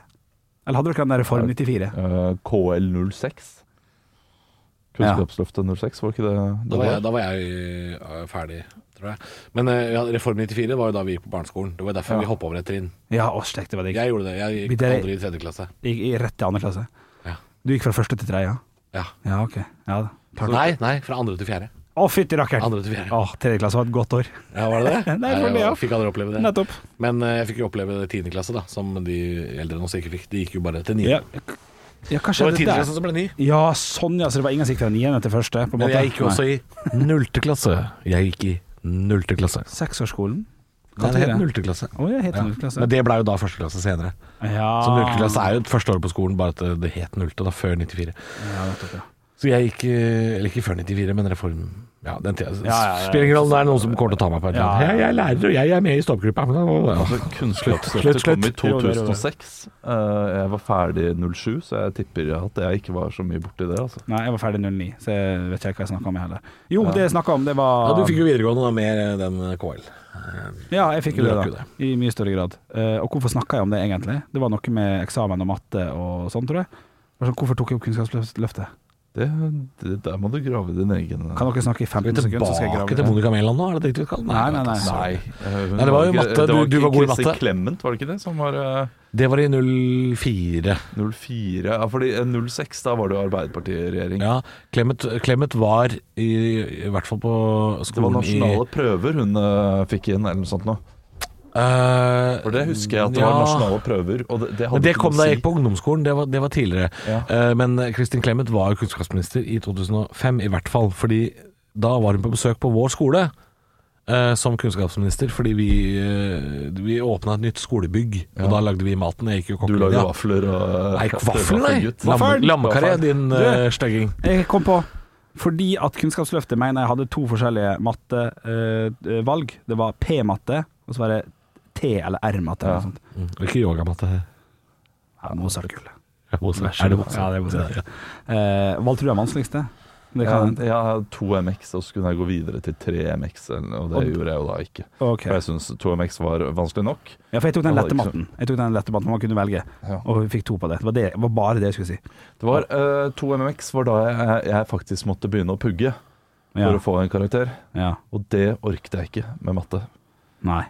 S4: Eller hadde dere den der Form 94?
S5: Eh, KL06. Kunnskapsløftet 06, var ikke det
S3: Da
S5: det
S3: var
S5: var?
S3: jeg, da var jeg eh, ferdig, tror jeg. Men eh, ja, Reform 94 var jo da vi gikk på barneskolen. Det var derfor vi hoppa over et trinn.
S4: Ja, å, stek, det var digg.
S3: Jeg gjorde det. Jeg
S4: Men
S3: gikk
S4: det-
S3: aldri i tredje klasse.
S4: Gikk i- Rett til andre klasse.
S3: Ja.
S4: Du gikk fra første til tredje?
S3: Ja.
S4: Ja, ok. Ja, da. Klart.
S3: Nei, nei, fra andre til fjerde.
S4: Å, fytti rakkeren!
S3: Andre til fjerde.
S4: Å, tredje klasse var et godt år.
S3: Ja, var det det?
S4: Nei, det var
S3: jeg
S4: det, ja.
S3: fikk aldri oppleve det.
S4: Nettopp.
S3: Men eh, jeg fikk jo oppleve det i tiende klasse, da, som de eldre nå sikkert fikk. De gikk jo bare til
S4: Ja,
S3: niende.
S4: ja hva
S3: Det var
S4: skjedde
S3: tiende
S4: der?
S3: klasse som ble ni.
S4: Ja, sånn ja, så det var ingen som gikk fra niende til første? På en
S3: Men
S4: måte.
S3: jeg gikk jo
S4: Nei.
S3: også i nullte klasse. Jeg gikk i nullte klasse.
S4: Seksårsskolen?
S3: Nei, det het nullte klasse.
S4: Å, jeg het
S3: Ja.
S4: nullte klasse.
S3: Men det blei jo da første klasse senere.
S4: Ja.
S3: Så nullte klasse er jo et første år på skolen, bare at det- det het nullte da, før 94.
S4: Ja, nettopp, ja.
S3: Så jeg gikk eh, Eller ikke før 94, men reform Ja, den tida.
S4: ja, ja.
S3: Spiller ingen rolle, det er noen som kommer til å ta meg på et eller annet.
S4: Ja, ja,
S3: Jeg, jeg er lærer, og jeg er med i stoppgruppa.
S5: Altså,
S3: Slutt,
S5: Kunnskapsløftet
S3: slutt.
S5: kom i
S4: Jo, det er jo det.
S5: 2006. Eh, jeg var ferdig 07, så jeg tipper at jeg ikke var så mye borti det. Altså.
S4: Nei, jeg var ferdig 09, så jeg vet ikke hva jeg snakka om jeg heller. Jo, det jeg snakka om, det var
S3: Ja, du fikk jo videregående da med eh, den KL.
S4: Ja, jeg fikk jo
S3: Du
S4: det,
S3: rakk
S4: da. I mye større grad. Eh, og hvorfor snakka jeg om det, egentlig? Det var noe med eksamen og matte og sånn, tror jeg. Det var Sånn, hvorfor tok jeg opp Kunnskapsløftet?
S5: Det, det, der må du grave din egen eh.
S4: Kan dere snakke i 15 sekunder, så skal
S3: Tilbake
S4: jeg grave
S3: til
S4: det?
S3: Monica Mæland nå, er det det du skal?
S4: Nei, nei, nei.
S5: Nei. eh, hun
S3: Nei, det var jo
S5: ikke-
S3: matte.
S5: det
S3: Du- du
S5: var ikke
S3: var god i
S5: Kristin
S3: matte.
S5: Clement, var det ikke det? Som var eh,
S3: Det var i 04.
S5: 04 Ja, fordi eh, 06, da var det jo Arbeiderpartiregjering.
S3: Ja, Clemet, Clemet var i, i hvert fall på
S5: Det var
S3: skolen i
S5: nasjonale prøver hun eh, fikk inn, eller noe sånt noe.
S3: Eh,
S5: For det husker jeg at det
S3: ja.
S5: var nasjonale prøver. Og det, det, hadde
S3: Men det
S5: ikke
S3: kom
S5: noe
S3: da
S5: å
S3: jeg
S5: si.
S3: gikk på ungdomsskolen, det var, det var tidligere.
S5: Ja.
S3: Eh, men Kristin Clemet var jo kunnskapsminister i 2005, i hvert fall. Fordi da var hun på besøk på vår skole eh, som kunnskapsminister, fordi vi, eh, vi åpna et nytt skolebygg. Og da lagde vi maten. Jeg gikk jo
S5: Du lager
S3: kokkelinja.
S5: vafler og
S3: Nei, ikke vaffel, nei!
S5: vaffelgutt.
S3: Lamme-
S4: Vaffel.
S3: Lammekaré, din
S4: Du.
S3: uh, støgging.
S4: Jeg kom på fordi at Kunnskapsløftet mener jeg hadde to forskjellige mattevalg. det var P-matte, og så var det T- eller R-matte. eller noe sånt.
S3: Mm, og Ikke yogamatte.
S4: Ja, Mozart-gull.
S3: Er det
S4: Ja, det er Mozart. Eh, valgte du den vanskeligste? Det
S5: Ja,
S4: kan,
S5: jeg hadde to MX, og så kunne jeg gå videre til tre MX, og det
S4: Og-
S5: gjorde jeg jo da ikke.
S4: Ok.
S5: For jeg syntes to MX var vanskelig nok.
S4: Ja, for jeg tok den
S5: Det var
S4: lette
S5: ikke
S4: matten. Jeg tok den lette matten Man kunne velge,
S5: Ja.
S4: og vi fikk to på det. Det var, det, det var bare det jeg skulle si.
S5: Det var eh, to MX var da jeg, jeg faktisk måtte begynne å pugge
S4: Ja.
S5: for å få en karakter,
S4: ja.
S5: og det orket jeg ikke med matte.
S4: Nei.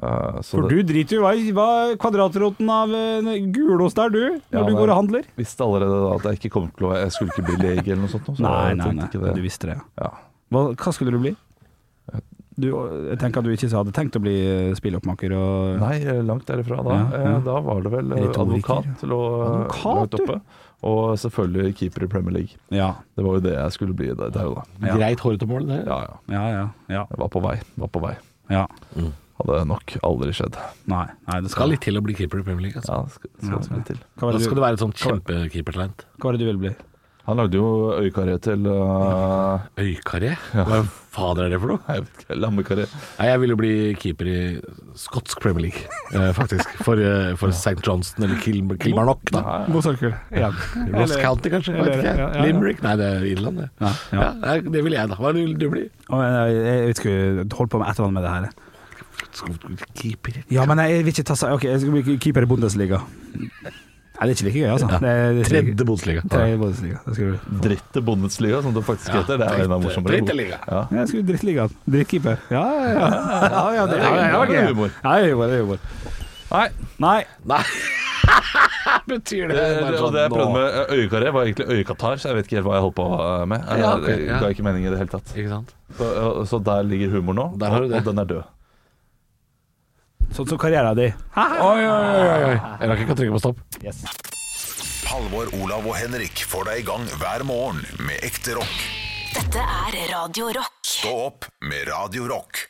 S5: Eh, så
S4: For
S5: det,
S4: du driter jo i hva kvadratroten av eh, gulost er, du, når
S5: Ja,
S4: du
S5: men-
S4: går og handler.
S5: visste allerede da at jeg ikke kom til å Jeg skulle ikke bli lege eller noe sånt. nå, Så
S4: Nei,
S5: jeg
S4: nei,
S5: tenkte
S4: nei.
S5: ikke
S4: Du
S5: det.
S4: visste det, ja.
S5: Ja.
S4: Hva, hva skulle du bli? Du, jeg tenker at du ikke hadde tenkt å bli eh, spilloppmaker og
S5: Nei, eh, langt derifra da.
S4: Ja, ja.
S5: Eh, Da var det vel eh,
S4: Retoriker.
S5: advokat eh, lå
S4: Advokat,
S5: langt
S4: du.
S5: oppe. Og selvfølgelig keeper i Premier League.
S4: Ja,
S5: Det var jo det jeg skulle bli der, der og da.
S4: Ja.
S3: Greit hårete mål, det.
S5: Ja, ja.
S4: ja, ja. ja,
S5: Jeg var på vei. Var på vei.
S4: ja.
S5: Hadde nok aldri skjedd.
S4: Nei, nei, det
S3: Skal
S4: skal
S3: litt til å bli keeper i Premier League. Altså.
S5: Ja, skal, skal så mye til.
S4: Hva
S3: Da
S4: var det
S3: skal
S4: du,
S3: du være et sånt kjempekeepertalent.
S4: hva var det du ville bli?
S5: Han lagde jo øyekaré til uh,
S3: Øykaré? Hva fader er det for noe?
S5: jeg vet ikke, lammekaré.
S3: Nei, jeg ville jo bli keeper i skotsk Premier League, eh, faktisk. For, eh, for St. Johnston eller Kil Kilmarnock, da.
S4: Mozartkul. Ja.
S3: Ross County, kanskje? Jeg vet
S4: eller-
S3: ikke.
S4: ja, ja, ja.
S3: Limerick? Nei, det er Irland, det.
S4: Ja, ja.
S3: Ja, nei, det vil jeg, da. Hva vil du bli?
S4: Og, eh, jeg vet ikke, hold på med et eller annet med det her.
S3: Keeper
S4: Ja, men jeg vil ikke ta seg Ok, jeg skal bli keeper i Bundesliga. Nei, det er ikke like gøy, altså. Det er, det er ikke-
S3: Tredje Bundesliga.
S4: Tredje Bundesliga. Det skulle du-
S5: Dritte Bundesliga, som det faktisk heter. Det er jo enda morsommere.
S3: Dritteliga.
S5: Ja.
S4: Ja, jeg skulle drittliga. Drittkeeper. Ja, ja, ja. ja, ja, det, ja, ja,
S5: Det er
S4: ja,
S5: humor.
S4: ja, det er humor. Det er humor.
S5: Nei,
S4: Nei.
S3: Nei. Betyr det
S5: det,
S3: bare
S5: og det jeg
S3: sånn
S5: prøvde
S3: nå?
S5: med øyekaret, var egentlig øyekatarr, så jeg vet ikke helt hva jeg holdt på med. Jeg,
S3: Ja, ok, ja.
S5: ga ikke mening i det hele tatt.
S3: Ikke sant?
S5: Så, så der ligger humor nå,
S3: Der har du
S5: og,
S3: det.
S5: og den er død.
S4: Sånn som karrieren din.
S3: Oi, oi, oi, oi. Jeg rakk ikke å trykke på stopp.
S1: Halvor, Olav og Henrik får deg i gang hver morgen med ekte rock.
S2: Dette er Radio Rock.
S1: Stå opp med Radio Rock.